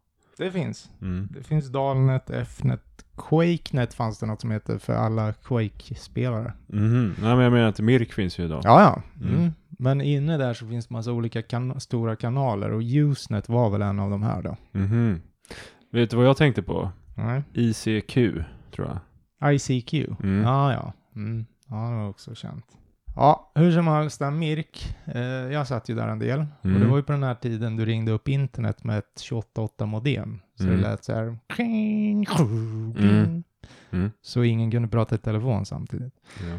finns.
Mm.
Det finns Dalnet, Fnet, Quakenet fanns det något som heter för alla Quake-spelare.
Mhm. Nej men jag menar att myrk finns ju idag.
Ja, ja.
Mm.
Mm. Men inne där så finns massa olika kan- stora kanaler och Usenet var väl en av de här då.
Mhm. Vet du vad jag tänkte på?
Nej.
ICQ, tror jag.
ICQ.
Mm.
Ja, ja. Mm. Ja, det var också känt. Ja, hur som helst, den Mirk, eh, jag satt ju där en del.
Mm.
Och det var ju på den här tiden du ringde upp internet med ett 28 modem. Så
Mm.
det lät så här. "Kring, kring", kring.
Mm.
Så ingen kunde prata i telefon samtidigt.
Ja.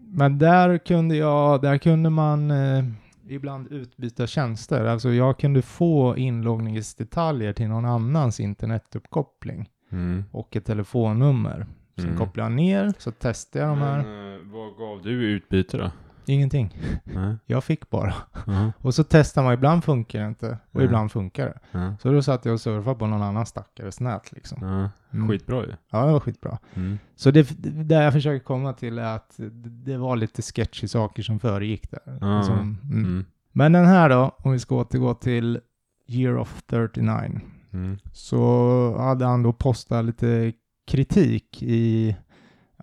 Men där kunde jag, där kunde man eh, ibland utbyta tjänster. Alltså jag kunde få inloggningsdetaljer till någon annans internetuppkoppling
Mm.
och ett telefonnummer. Sen
Mm.
kopplade jag ner, så testade jag de här.
Men, eh, vad gav du i utbyte då?
Ingenting.
Nej.
Jag fick bara.
Ja.
Och så testar man, ibland funkar det inte och
Mm.
ibland funkar det.
Ja.
Så då satt jag och surfade på någon annan stackares nät liksom.
Ja.
Mm.
Skitbra ju.
Ja, det var skitbra.
Mm.
Så det, det jag försöker komma till är att det- det var lite sketchy saker som föregick där.
Ja.
Som, mm.
Mm.
Men den här då, om vi ska återgå till Year of 39,
Mm.
så hade han då postat lite kritik i,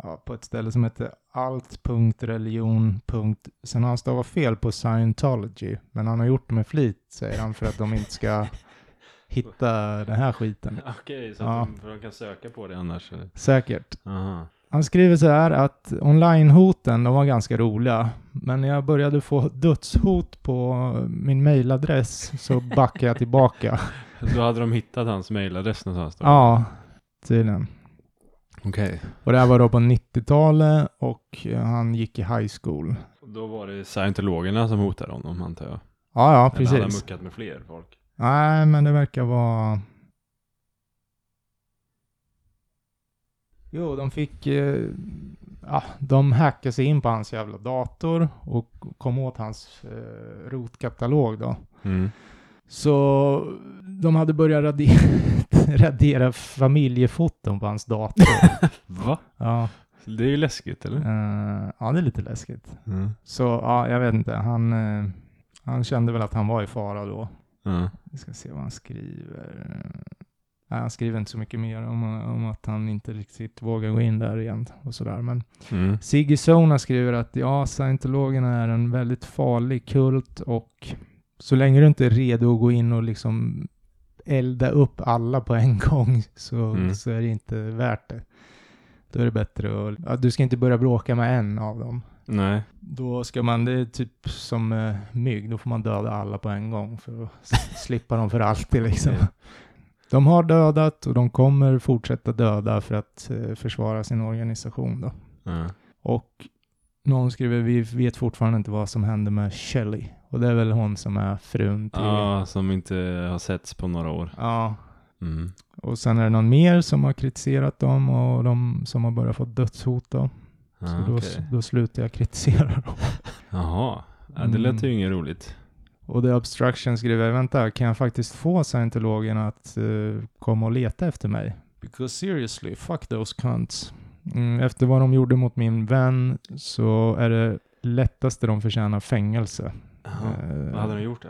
ja, på ett ställe som hette alt.religion. Sen har han stavat fel på scientology, men han har gjort det med flit, säger han, för att de inte ska hitta den här skiten.
Okej, så
att Ja.
de, för de kan söka på det annars.
Säkert.
Aha.
Han skriver så här att onlinehoten, de var ganska roliga, men när jag började få dödshot på min mailadress så backade jag tillbaka.
Då hade de hittat hans mailadress någonstans då?
Ja, tydligen.
Okej.
Och det här var då på 90-talet och eh, han gick i high school.
Då var det scientologerna som hotade honom antar jag.
Ja, ja,
Eller hade
precis.
muckat med fler folk.
Nej, men det verkar vara... Jo, de fick... Eh, ja, de hackade sig in på hans jävla dator och kom åt hans eh, rotkatalog då.
Mm.
Så de hade börjat radera, radera [laughs] familjefoton på hans
[laughs]
dator.
[laughs] Va?
Ja,
Det är ju läskigt eller?
eh, ja, det är lite läskigt.
Mm.
Så ja, jag vet inte. Han, eh, han kände väl att han var i fara då.
Ja.
Vi ska se vad han skriver. Nej, han skriver inte så mycket mer om, om att han inte riktigt vågar gå in där igen och sådär. Men
Mm.
Ziggy Sona skriver att ja, scientologerna är en väldigt farlig kult och så länge du inte är redo att gå in och liksom elda upp alla på en gång så,
Mm.
så är det inte värt det. Då är det bättre att, ja, du ska inte börja bråka med en av dem.
Nej.
Då ska man, det är typ som eh, mygg, då får man döda alla på en gång för att
[laughs]
s- slippa dem för alltid liksom.
Okej.
De har dödat och de kommer fortsätta döda för att eh, försvara sin organisation då.
Ja.
Och någon skriver, vi vet fortfarande inte vad som hände med Shelley. Och det är väl hon som är frun till...
Ja, som inte har setts på några år.
Ja.
Mm.
Och sen är det någon mer som har kritiserat dem och de som har börjat få dödshot då.
Ja,
Så då,
Ah, okej.
då slutar jag kritisera dem.
Jaha. Ja, det lät ju inget roligt.
Och The Obstruction skriver, vänta, kan jag faktiskt få scientologerna att eh, komma och leta efter mig? Because seriously, fuck those cunts. Mm, efter vad de gjorde mot min vän så är det lättaste de förtjänar fängelse.
Jaha.
Eh,
Vad hade de gjort då?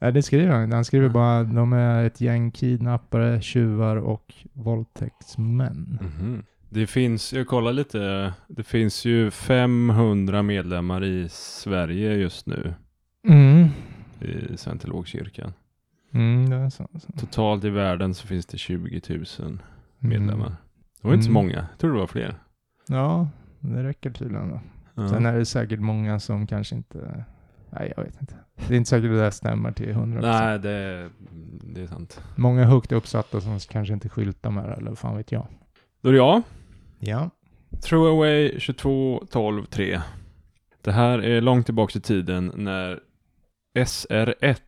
Nej, det skriver han Han skriver
Ja.
bara, de är ett gäng kidnappare, tjuvar och våldtäktsmän.
Mhm. Det finns, jag kollar lite, det finns ju 500 medlemmar i Sverige just nu
Mm.
i scientologkyrkan.
Mm, det är så. så.
Totalt i världen så finns det 20 000 medlemmar.
Mm.
Det var inte så
Mm.
många, jag tror det var fler.
Ja, det räcker tydligen då.
Ja.
Sen är det säkert många som kanske inte Nej, jag vet inte. Det är inte säkert det där stämmer till 100%.
Nej, det, det är sant.
Många högt uppsatta som kanske inte skyltar med det, eller fan vet jag.
Då är det jag.
Ja.
Throwaway 22 12 3. Det här är långt tillbaks i tiden när SR1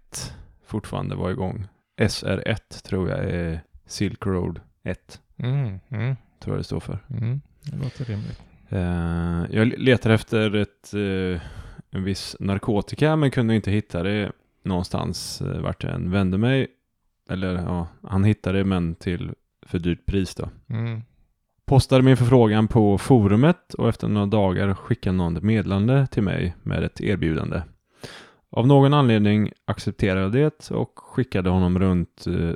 fortfarande var igång. SR1 tror jag är Silk Road 1,
Mm, mm,
tror jag det står för.
mm. Det låter rimligt.
Eh, jag letar efter ett, eh, en viss narkotika men kunde inte hitta det någonstans eh, vart jag än vände mig. Eller ja, han hittade det men till för dyrt pris då.
Mm.
Postade min förfrågan på forumet och efter några dagar skickade någon ett meddelande till mig med ett erbjudande. Av någon anledning accepterade jag det och skickade honom runt eh,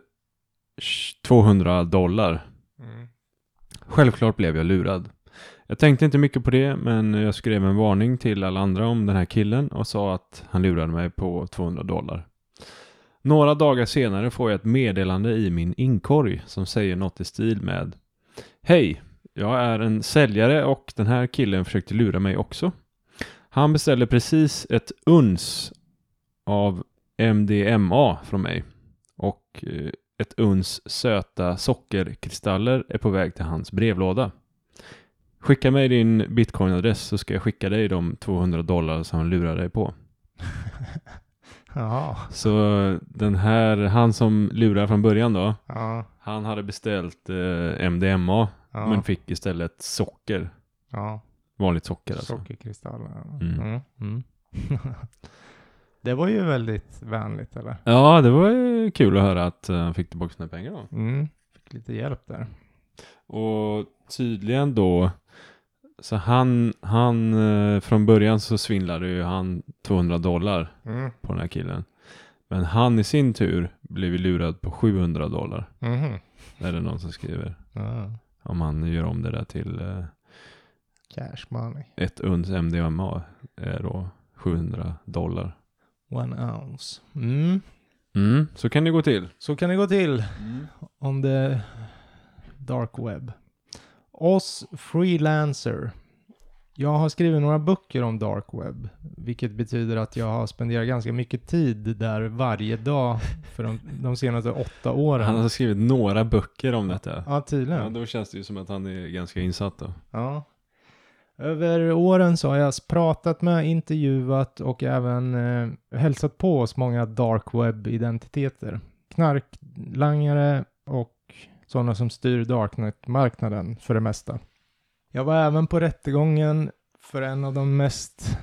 200 dollar.
[laughs] Mm.
Självklart blev jag lurad. Jag tänkte inte mycket på det, men jag skrev en varning till alla andra om den här killen och sa att han lurade mig på 200 dollar. Några dagar senare får jag ett meddelande i min inkorg som säger något i stil med Hej, jag är en säljare och den här killen försökte lura mig också. Han beställde precis ett uns av MDMA från mig och eh, ett uns söta sockerkristaller är på väg till hans brevlåda. Skicka mig din bitcoinadress så ska jag skicka dig de 200 dollar som han lurade dig på.
Jaha.
Så den här, han som lurar från början då,
Ja.
han hade beställt eh, MDMA
Ja.
men fick istället socker.
ja.
Vanligt socker alltså.
Sockerkristaller.
Mm.
Mm. Mm. [laughs] det var ju väldigt vänligt eller?
Ja, det var ju kul att höra att eh, han fick tillbaka sina pengar då.
Mm. Fick lite hjälp där.
Och tydligen då, så han, han eh, från början så svindlade ju han 200 dollar
Mm.
på den här killen. Men han i sin tur blev ju lurad på 700 dollar.
Mhm.
Är det någon som skriver.
Ja.
Om han gör om det där till eh,
Cash money.
ett uns MDMA är eh, då 700 dollar.
One ounce. Mm.
Mm, så kan det gå till.
Så kan det gå till on the dark web. Oss freelancer. Jag har skrivit några böcker om dark web, vilket betyder att jag har spenderat ganska mycket tid där varje dag för de, de senaste åtta
Han
åren.
har skrivit några böcker om detta.
Ja, tydligen.
Ja, då känns det ju som att han är ganska insatt då.
Ja. Över åren så har jag pratat med, intervjuat och även eh, hälsat på hos många dark web-identiteter. Knarklangare och sådana som styr darknet-marknaden för det mesta. Jag var även på rättegången för en av de mest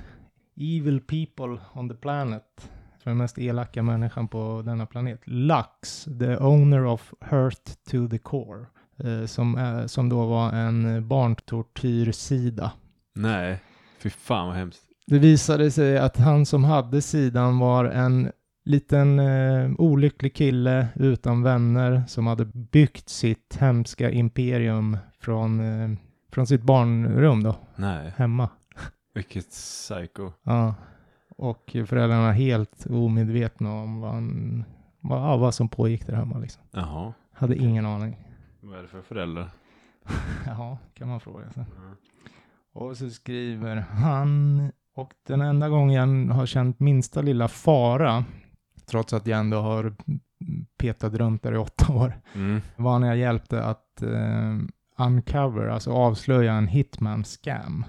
evil people on the planet. För den mest elaka människan på denna planet. Lux, the owner of Hurt to the Core. Eh, som, eh, som då var en eh, barntortyrsida.
Nej, fy fan vad hemskt.
Det visade sig att han som hade sidan var en liten eh, olycklig kille utan vänner som hade byggt sitt hemska imperium från, eh, från sitt barnrum då,
Nej,
hemma.
vilket psycho.
Ja. Och föräldrarna helt omedvetna om vad, han, vad, ja, vad som pågick där hemma liksom.
Jaha,
Hade ingen aning. [laughs]
vad är det för föräldrar?
Jaha, kan man fråga sig.
Mm.
Och så skriver han, och den enda gången jag har känt minsta lilla fara, trots att jag ändå har petat runt där i åtta år,
Mm.
var när jag hjälpte att eh, uncover, alltså avslöja en hitman-scam.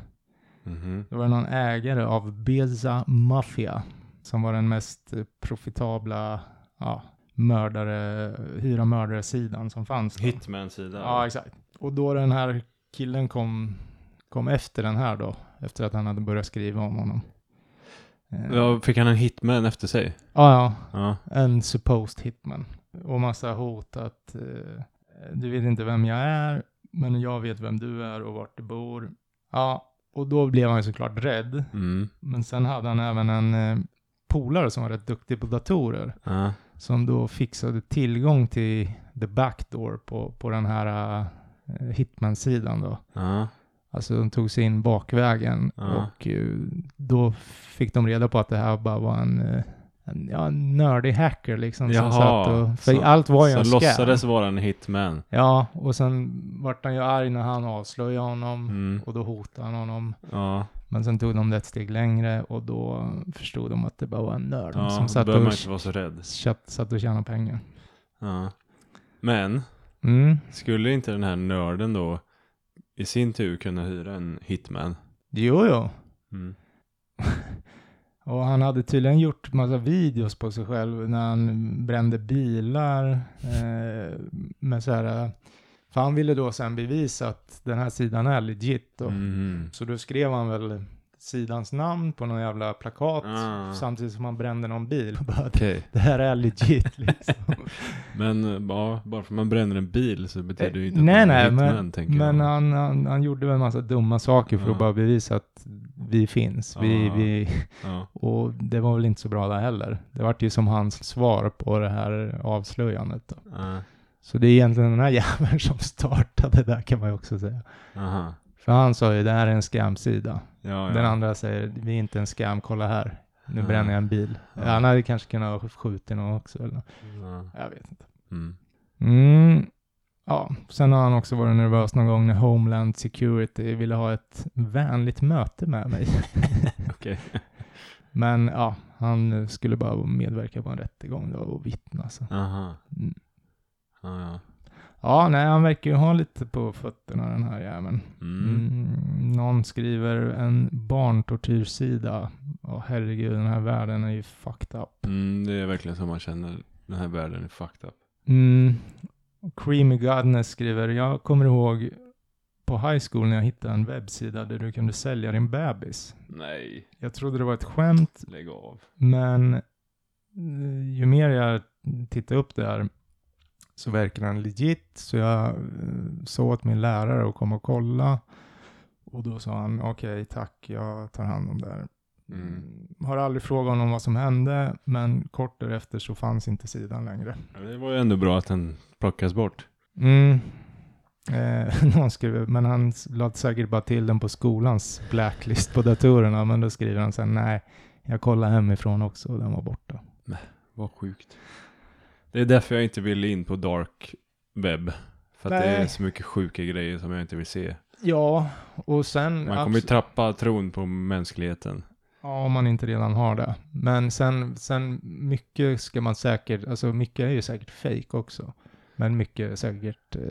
Mhm.
Det var någon ägare av Beza Mafia som var den mest eh, profitabla ja, mördare, hyra mördare-sidan som fanns. då.
Hitman-sida.
Ja, exakt. Och då den här killen kom, kom efter den här då, efter att han hade börjat skriva om honom. Eh, ja.
Ja, fick han en hitman efter sig?
ja,
Ja.
en supposed hitman. Och massa hot att eh, du vet inte vem jag är, men jag vet vem du är och vart du bor. Ja, och då blev han ju såklart rädd.
Mm.
Men sen hade han även en eh, polare som var rätt duktig på datorer.
Ja.
Som då fixade tillgång till the backdoor på, på den här eh, hitman-sidan då.
Ja.
Alltså de tog sig in bakvägen
Ja.
och eh, då fick de reda på att det här bara var en eh, en, ja, en nördig hacker liksom.
Jaha,
som satt och, för
så-
allt var ju en scam.
Som låtsades vara en hitman.
Ja, och sen vart han ju arg när han avslöjade honom.
Mm.
Och då hotade han honom.
Ja,
Men sen tog de det ett steg längre och då förstod de att det bara var en nörd
ja
som
då
satt
behöver
och,
man inte vara så rädd.
chatt, satt och tjänade pengar.
Ja. Men,
Mm.
skulle inte den här nörden då i sin tur kunna hyra en hitman?
Jo, jo.
Mm.
Och han hade tydligen gjort massa videos på sig själv när han brände bilar. Eh, med så här, eh, för han ville då sen bevisa att den här sidan är legit. Då.
Mhm.
Så då skrev han väl sidans namn på någon jävla plakat
Ah.
samtidigt som han brände någon bil. Bara, att
Okej,
det här är legit liksom.
men eh, ja, bara för att man bränner en bil så betyder det ju inte
Eh, nej,
att man är
nej,
en hitman,
men,
[laughs] tänker
men
jag.
han, han, han gjorde väl en massa dumma saker för
Ja.
att bara bevisa att vi finns. Vi,
Ah.
vi,
Ja.
Och det var väl inte så bra där heller. Det vart ju som hans svar på det här avslöjandet. Då.
Ja.
Så det är egentligen den här [laughs] jäveln som startade det där kan man ju också säga.
Aha.
För han sa ju det här är en scamsida.
Ja, ja.
Den andra säger vi är inte en scam, kolla här. Nu
Ja.
bränner jag en bil.
Ja.
Han hade kanske kunnat skjuta någon också. Eller? något.
Ja.
Jag vet inte.
Mm.
Mm. Ja, sen har han också varit nervös någon gång när Homeland Security ville ha ett vänligt möte med mig.
[laughs]
[laughs]
Okej.
Men ja, han skulle bara medverka på en rättegång då och vittna. Så.
Aha.
Mm.
Ja, ja.
Ja, nej, han verkar ju ha lite på fötterna den här jäveln.
Mm.
Mm. Någon skriver en barntortyrsida. Åh herregud, den här världen är ju fucked up.
Mm, det är verkligen så man känner. Den här världen är fucked up.
Mm. Creamy Godness skriver, jag kommer ihåg på high school när jag hittade en webbsida där du kunde sälja din bebis.
Nej,
Jag trodde det var ett skämt
lägg av.
Men eh, ju mer jag tittar upp där så verkar den legit. Så jag eh, sa åt min lärare att komma och kolla. Och då sa han okej tack, jag tar hand om det här.
Mm.
Har aldrig frågat honom vad som hände, men kort därefter så fanns inte sidan längre.
Ja, Det var ju ändå bra att den plockas bort.
Mm. Eh, [laughs] någon skrev, men han lade säkert bara till den på skolans blacklist på datorerna. Men då skriver han sen nej, jag kollade hemifrån också och den var borta.
Vad sjukt. Det är därför jag inte vill in på dark web. För att det är
Nej.
så mycket sjuka grejer som jag inte vill se.
Ja, och sen...
Man kommer ju
abs-
trappa tron på mänskligheten.
ja, om man inte redan har det. Men sen, sen mycket ska man säkert... Alltså mycket är ju säkert fake också. Men mycket är säkert eh,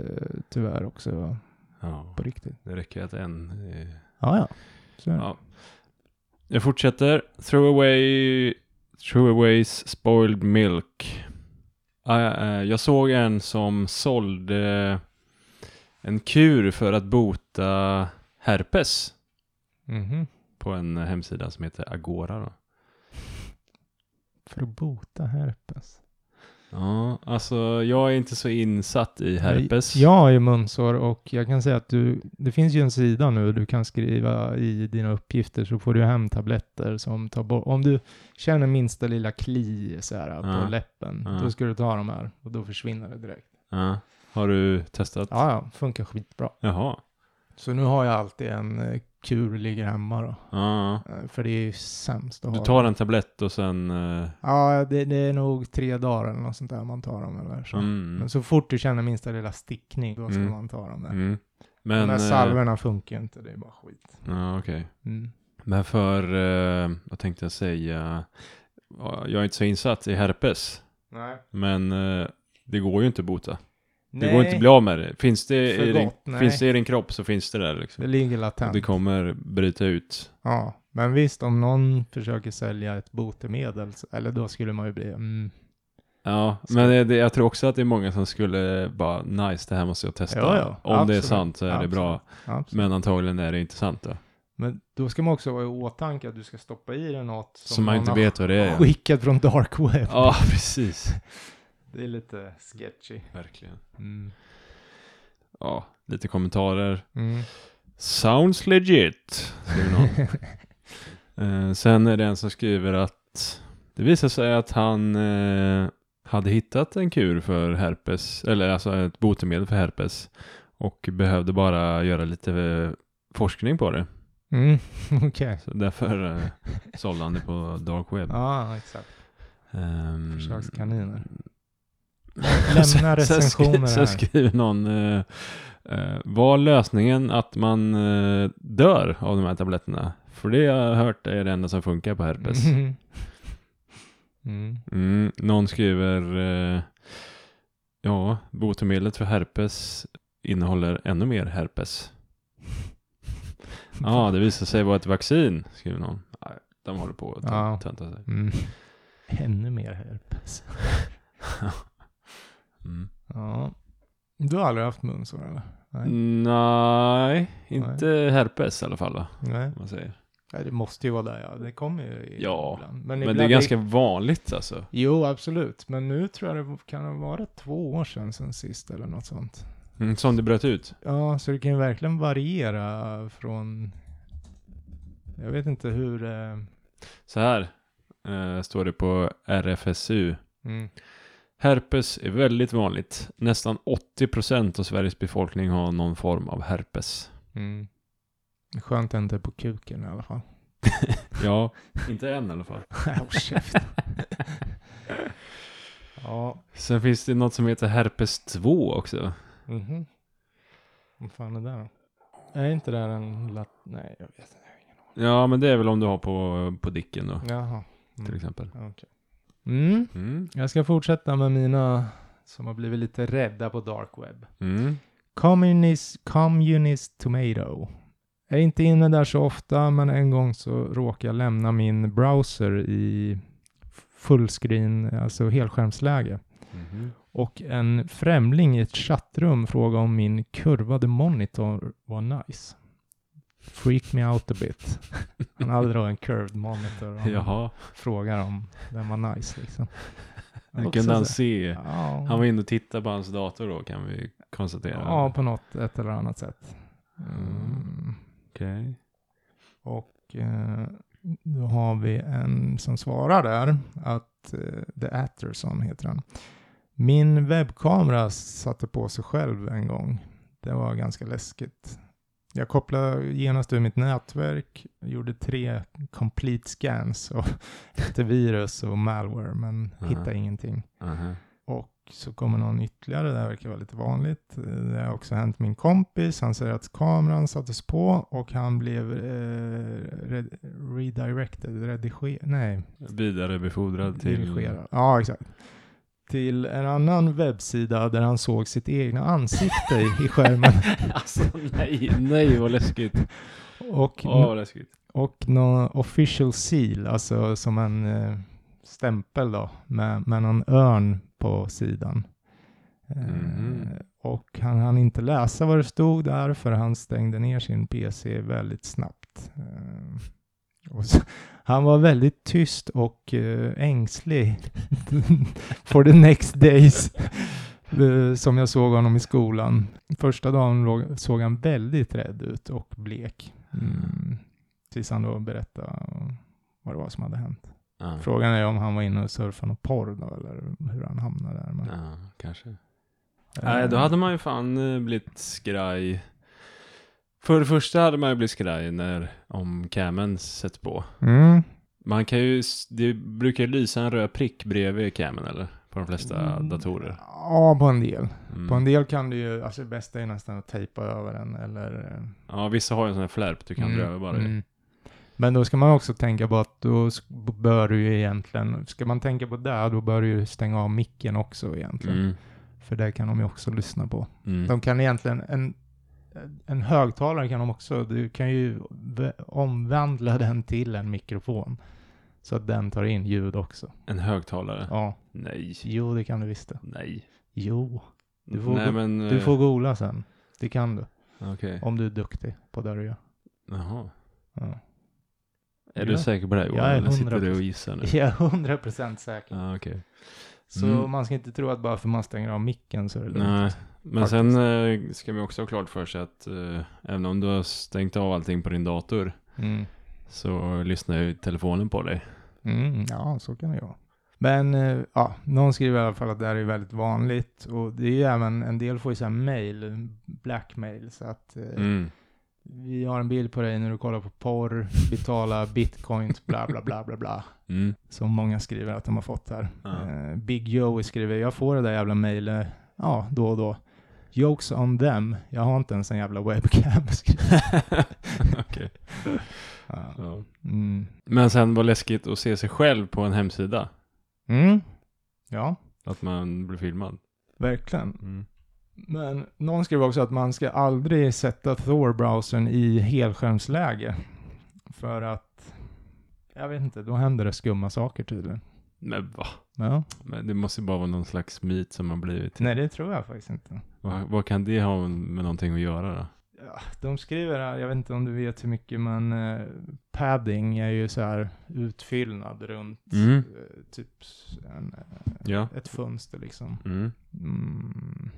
tyvärr också
Ja,
på riktigt.
det räcker att en... eh,
Ja, ja. Så är det.
Ja. Jag fortsätter. Throw away... Throw aways spoiled milk. Ah, ja, eh, jag såg en som sålde en kur för att bota herpes
Mhm.
på en hemsida som heter Agora. Då.
För att bota herpes.
Ja, alltså jag är inte så insatt i herpes.
Jag har ju munsår och jag kan säga att du, det finns ju en sida nu du kan skriva i dina uppgifter så får du hem tabletter som tar bort, om du känner minsta lilla kli så här på
Ja.
läppen,
Ja.
då ska du ta de här och då försvinner det direkt.
Ja. Har du testat?
Ja, ja, funkar skitbra.
Jaha.
Så nu har jag alltid en eh, kur ligger hemma då,
Ja.
Eh, för det är ju sämst att
Du
ha.
tar en tablett och sen... eh,
Ja, det, det är nog tre dagar eller något sånt där man tar dem eller så.
mm,
Men så fort du känner minsta lilla stickning, då ska
Mm.
man ta dem där.
mm.
Men,
Men...
de här
eh,
salverna funkar ju inte, det är bara skit.
Ja, okej.
Mm.
Men för, eh, vad tänkte jag säga, Ja, jag är inte så insatt i herpes,
Nej.
men eh, det går ju inte att bota.
Nej.
Det går inte att bli av med det. Finns det,
För
i din,
gott, nej.
finns det i din kropp så finns det där liksom.
Det ligger
Och
latent.
det kommer bryta ut.
Ja, men visst om någon försöker sälja ett botemedel, så- eller då skulle man ju bli, mm,
Ja,
Ska-
men det, det, jag tror också att det är många som skulle bara nice, det här måste jag testa.
Ja, ja.
Om det är
Absolut.
sant så är
Absolut.
det bra,
absolut.
men antagligen är det inte sant då.
Men då ska man också ha i åtanke att du ska stoppa i dig något som,
Som man
någon
inte
har
vet vad det är.
skickat från dark web.
Ja, [laughs] precis.
Det är lite sketchy.
Verkligen.
Mm.
Ja, lite kommentarer.
Mm.
Sounds legit, skriver någon.
[laughs]
Eh, sen är det en som skriver att det visar sig att han eh, hade hittat en kur för herpes, eller alltså ett botemedel för herpes och behövde bara göra lite eh, forskning på det.
Mm. [laughs] Okej.
eh, Så därför eh, sålde han det på dark web.
[laughs]
[laughs]
Ja, exakt.
Ehm, [laughs]
Försökskaniner.
Sen-
Lämna
sen skri-
recensioner
Sen
här.
skriver någon, eh, eh, var lösningen att man eh, dör av de här tabletterna? För det jag har hört är det enda som funkar
[laughs]
på herpes.
Mm. Mm.
Mm, någon skriver, eh, ja, botemedlet för herpes innehåller ännu
[laughs]
mer herpes. Ja, det visar sig vara ett vaccin, skriver någon. Nej, De håller på att
Ja.
ja. tönta sig.
Mm. [laughs] Ännu mer herpes.
Mm.
Ja. Du har aldrig haft munsår eller? Nej.
Mm. Nej, inte herpes i alla fall va?
Nej.
om Man säger.
Ja, det måste ju vara där ja. Det kommer ju i-
Ja,
ibland.
Men
ibland
det är ganska vanligt alltså.
Jo, absolut. Men nu tror jag det kan ha varit två år sedan sen sist eller något sånt.
Mm, som det bröt ut.
Ja, så det kan ju verkligen variera från... Jag vet inte hur... Eh...
Så här eh, står det på RFSU.
Mm.
Herpes är väldigt vanligt. Nästan 80% av Sveriges befolkning har någon form av herpes.
Mm. Skönt att inte på kuken i alla [laughs] fall.
Ja, [laughs] inte än i alla fall.
Håll käften. [laughs] ja.
Sen finns det något som heter herpes 2 också.
Mhm. Vad fan är det där då? Är inte det där en lat... Nej, jag vet inte.
Ja, men det är väl om du har på, på dicken då,
Jaha.
till
Mm.
exempel.
Okej. Mm.
Mm.
Jag ska fortsätta med mina som har blivit lite rädda på dark web.
Mm.
Communist, communist tomato. Jag är inte inne där så ofta, men en gång så råkade jag lämna min browser i fullscreen, alltså helskärmsläge.
Mhm.
Och en främling i ett chattrum frågade om min kurvade monitor var nice. Freak me out a bit. Han hade då en curved monitor
[laughs]
och han
Jaha,
frågar om den var nice liksom.
nu
Också
kunde han
så-
se.
Ja.
Han var inne och tittade på hans dator då, kan vi konstatera.
Ja, på något ett eller annat sätt.
Mm.
Mm.
Okej.
Och eh, då har vi en som svarar där att eh, The Atterson heter han. Min webbkamera satte på sig själv en gång. Det var ganska läskigt. Jag kopplade genast ur mitt nätverk, gjorde tre complete scans [laughs] och efter virus och malware, men
Aha.
hittade ingenting.
Aha.
Och så kommer någon ytterligare, det här verkar vara lite vanligt. Eh, Det har också hänt min kompis, han säger att kameran sattes på och han blev eh, red- redirected, redigerad, nej,
Vidarebefordrad till...
dirigerad. Ja, exakt. Till en annan webbsida där han såg sitt egna ansikte i- i skärmen.
[laughs] Alltså nej, nej vad läskigt.
Och,
Åh vad läskigt.
och någon official seal, alltså som en eh, stämpel då, med, med någon örn på sidan.
Mhm.
Eh, och han hann inte läsa vad det stod där, för han stängde ner sin PC väldigt snabbt. Eh, och så, [laughs] han var väldigt tyst och eh, ängslig [laughs] for the next days. [laughs] eh, Som jag såg honom i skolan. Första dagen låg- såg han väldigt rädd ut och blek. Mm. Tills han då berättade vad det var som hade
Mm.
hänt.
Ja.
Frågan är om han var inne och surfade något porr då, eller hur han hamnade där. Men,
Ja, kanske.
eh,
Nej, då hade man ju fan eh, blivit skraj. För det första hade man ju blivit skraj när, om camen sätts på.
Mm.
Man kan ju, s- det brukar ju lysa en röd prick bredvid camen eller? På de flesta datorer.
Mm. Ja, på en del.
Mm.
På en del kan du ju, alltså det bästa är nästan att tejpa över den eller... eh,
Ja, vissa har ju en sån här flärp du kan dra över bara.
mm. Men då ska man också tänka på att då s- bör du ju egentligen, ska man tänka på det, då bör du ju stänga av micken också egentligen.
Mm.
För det kan de ju också lyssna på.
Mm.
De kan egentligen, en, en högtalare kan de också, du kan ju v- omvandla [laughs] den till en mikrofon. Så att den tar in ljud också.
En högtalare.
Ja,
Nej,
jo det kan du visst det.
nej.
Jo, Du får
nej,
gå-
men,
du
eh,
får googla sen. Det kan du,
Okej.
om du är duktig på det du gör.
Jaha.
Ja. Ja.
Är du säker på det Johan?
Jag är
Eller sitter
100%.
du och gissar nu?
Jag är hundra procent säker.
Ja, okej.
Så
Mm.
man ska inte tro att bara för man stänger av micken så är det lugnt.
Nej, men
Faktiskt.
sen eh, ska vi också ha klart för sig att eh, även om du har stängt av allting på din dator
Mm.
så lyssnar ju telefonen på dig.
Mm, ja, så kan det ju vara. Men eh, ja, någon skriver i alla fall att det här är väldigt vanligt och det är ju även en del får ju så här mail, blackmail, så att eh,
Mm.
Vi har en bild på dig när du kollar på porr, betala bitcoins, bla bla bla bla bla.
Mm. [laughs]
Som många skriver att de har fått här.
Ja.
Eh, Big Joe skriver, jag får det där jävla mejlet, ja, då och då. Jokes on them, jag har inte ens en jävla webcam. [laughs] skriver
Okej.
han. ja.
Ja.
Mm.
Men sen var läskigt att se sig själv på en hemsida.
Mm. ja,
Att man blir filmad.
verkligen. Men någon skrev också att man ska aldrig sätta Thor-browsern i helskärmsläge. För att, jag vet inte, då händer det skumma saker tydligen.
Men va?
Ja.
Men det måste ju bara vara någon slags myt som har blivit.
Nej, det tror jag faktiskt inte.
Vad, vad kan det ha med någonting att göra då?
Ja, de skriver här, jag vet inte om du vet hur mycket, men eh, padding är ju så här utfyllnad runt
Mm.
eh, typ s- en, eh,
Ja.
ett fönster liksom.
Mm.
Mm.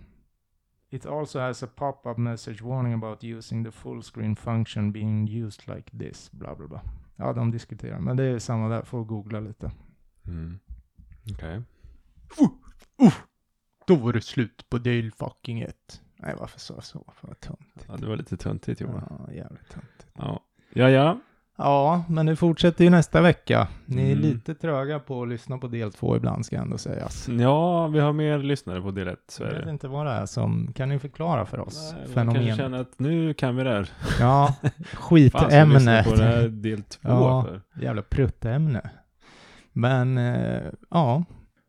It also has a pop-up message warning about using the full screen function being used like this. Bla bla bla. Ja, de diskuterar. Men det är samma där. Får googla lite.
Mm. Okej.
Då var det slut på del fucking 1. Nej, varför sa jag så? För vad töntigt.
Ja, det var lite töntigt Johan.
Ja, jävligt töntigt.
Ja. Ja, ja.
Ja, men det fortsätter ju nästa vecka. Ni är
Mm.
lite tröga på att lyssna på del två ibland, ska ändå sägas.
Ja, vi har mer lyssnare på del 1, så är
Jag vet
det.
inte vad det är som... Kan ni förklara för oss
Nej, vi kanske
fenomenet?
känner att nu kan vi det här.
Ja,
[laughs] Fan, ska vi lyssna
skitämnet.
på det här del [laughs] 2
Ja.
för?
Jävla pruttämne. Men eh, ja,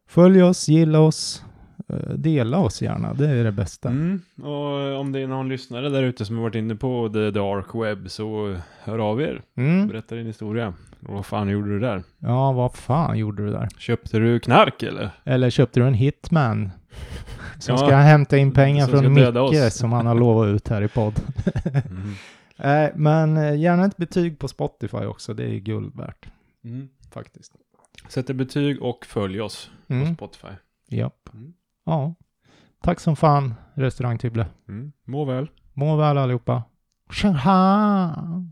följ oss, gilla oss, eh, dela oss gärna. Det är det bästa.
Mm. Och om det är någon lyssnare där ute som har varit inne på the dark web så hör av er.
Mm.
Berätta din historia. Och vad fan gjorde du där?
Ja, vad fan gjorde du där?
Köpte du knark eller?
Eller köpte du en
[laughs]
hitman? Som
Ja,
ska hämta in pengar
som ska
från
döda
Micke
oss.
som han har lovat ut här i
[laughs]
podd.
Mm.
Eh, men eh, gärna ett betyg på Spotify också. Det är guld värt faktiskt.
Sätter Mm. betyg och följ oss på
Mm.
Spotify.
Japp.
Mm.
Ja. Tack som fan, restaurang Tibble.
Mm. Må väl.
Må väl allihopa. Tja!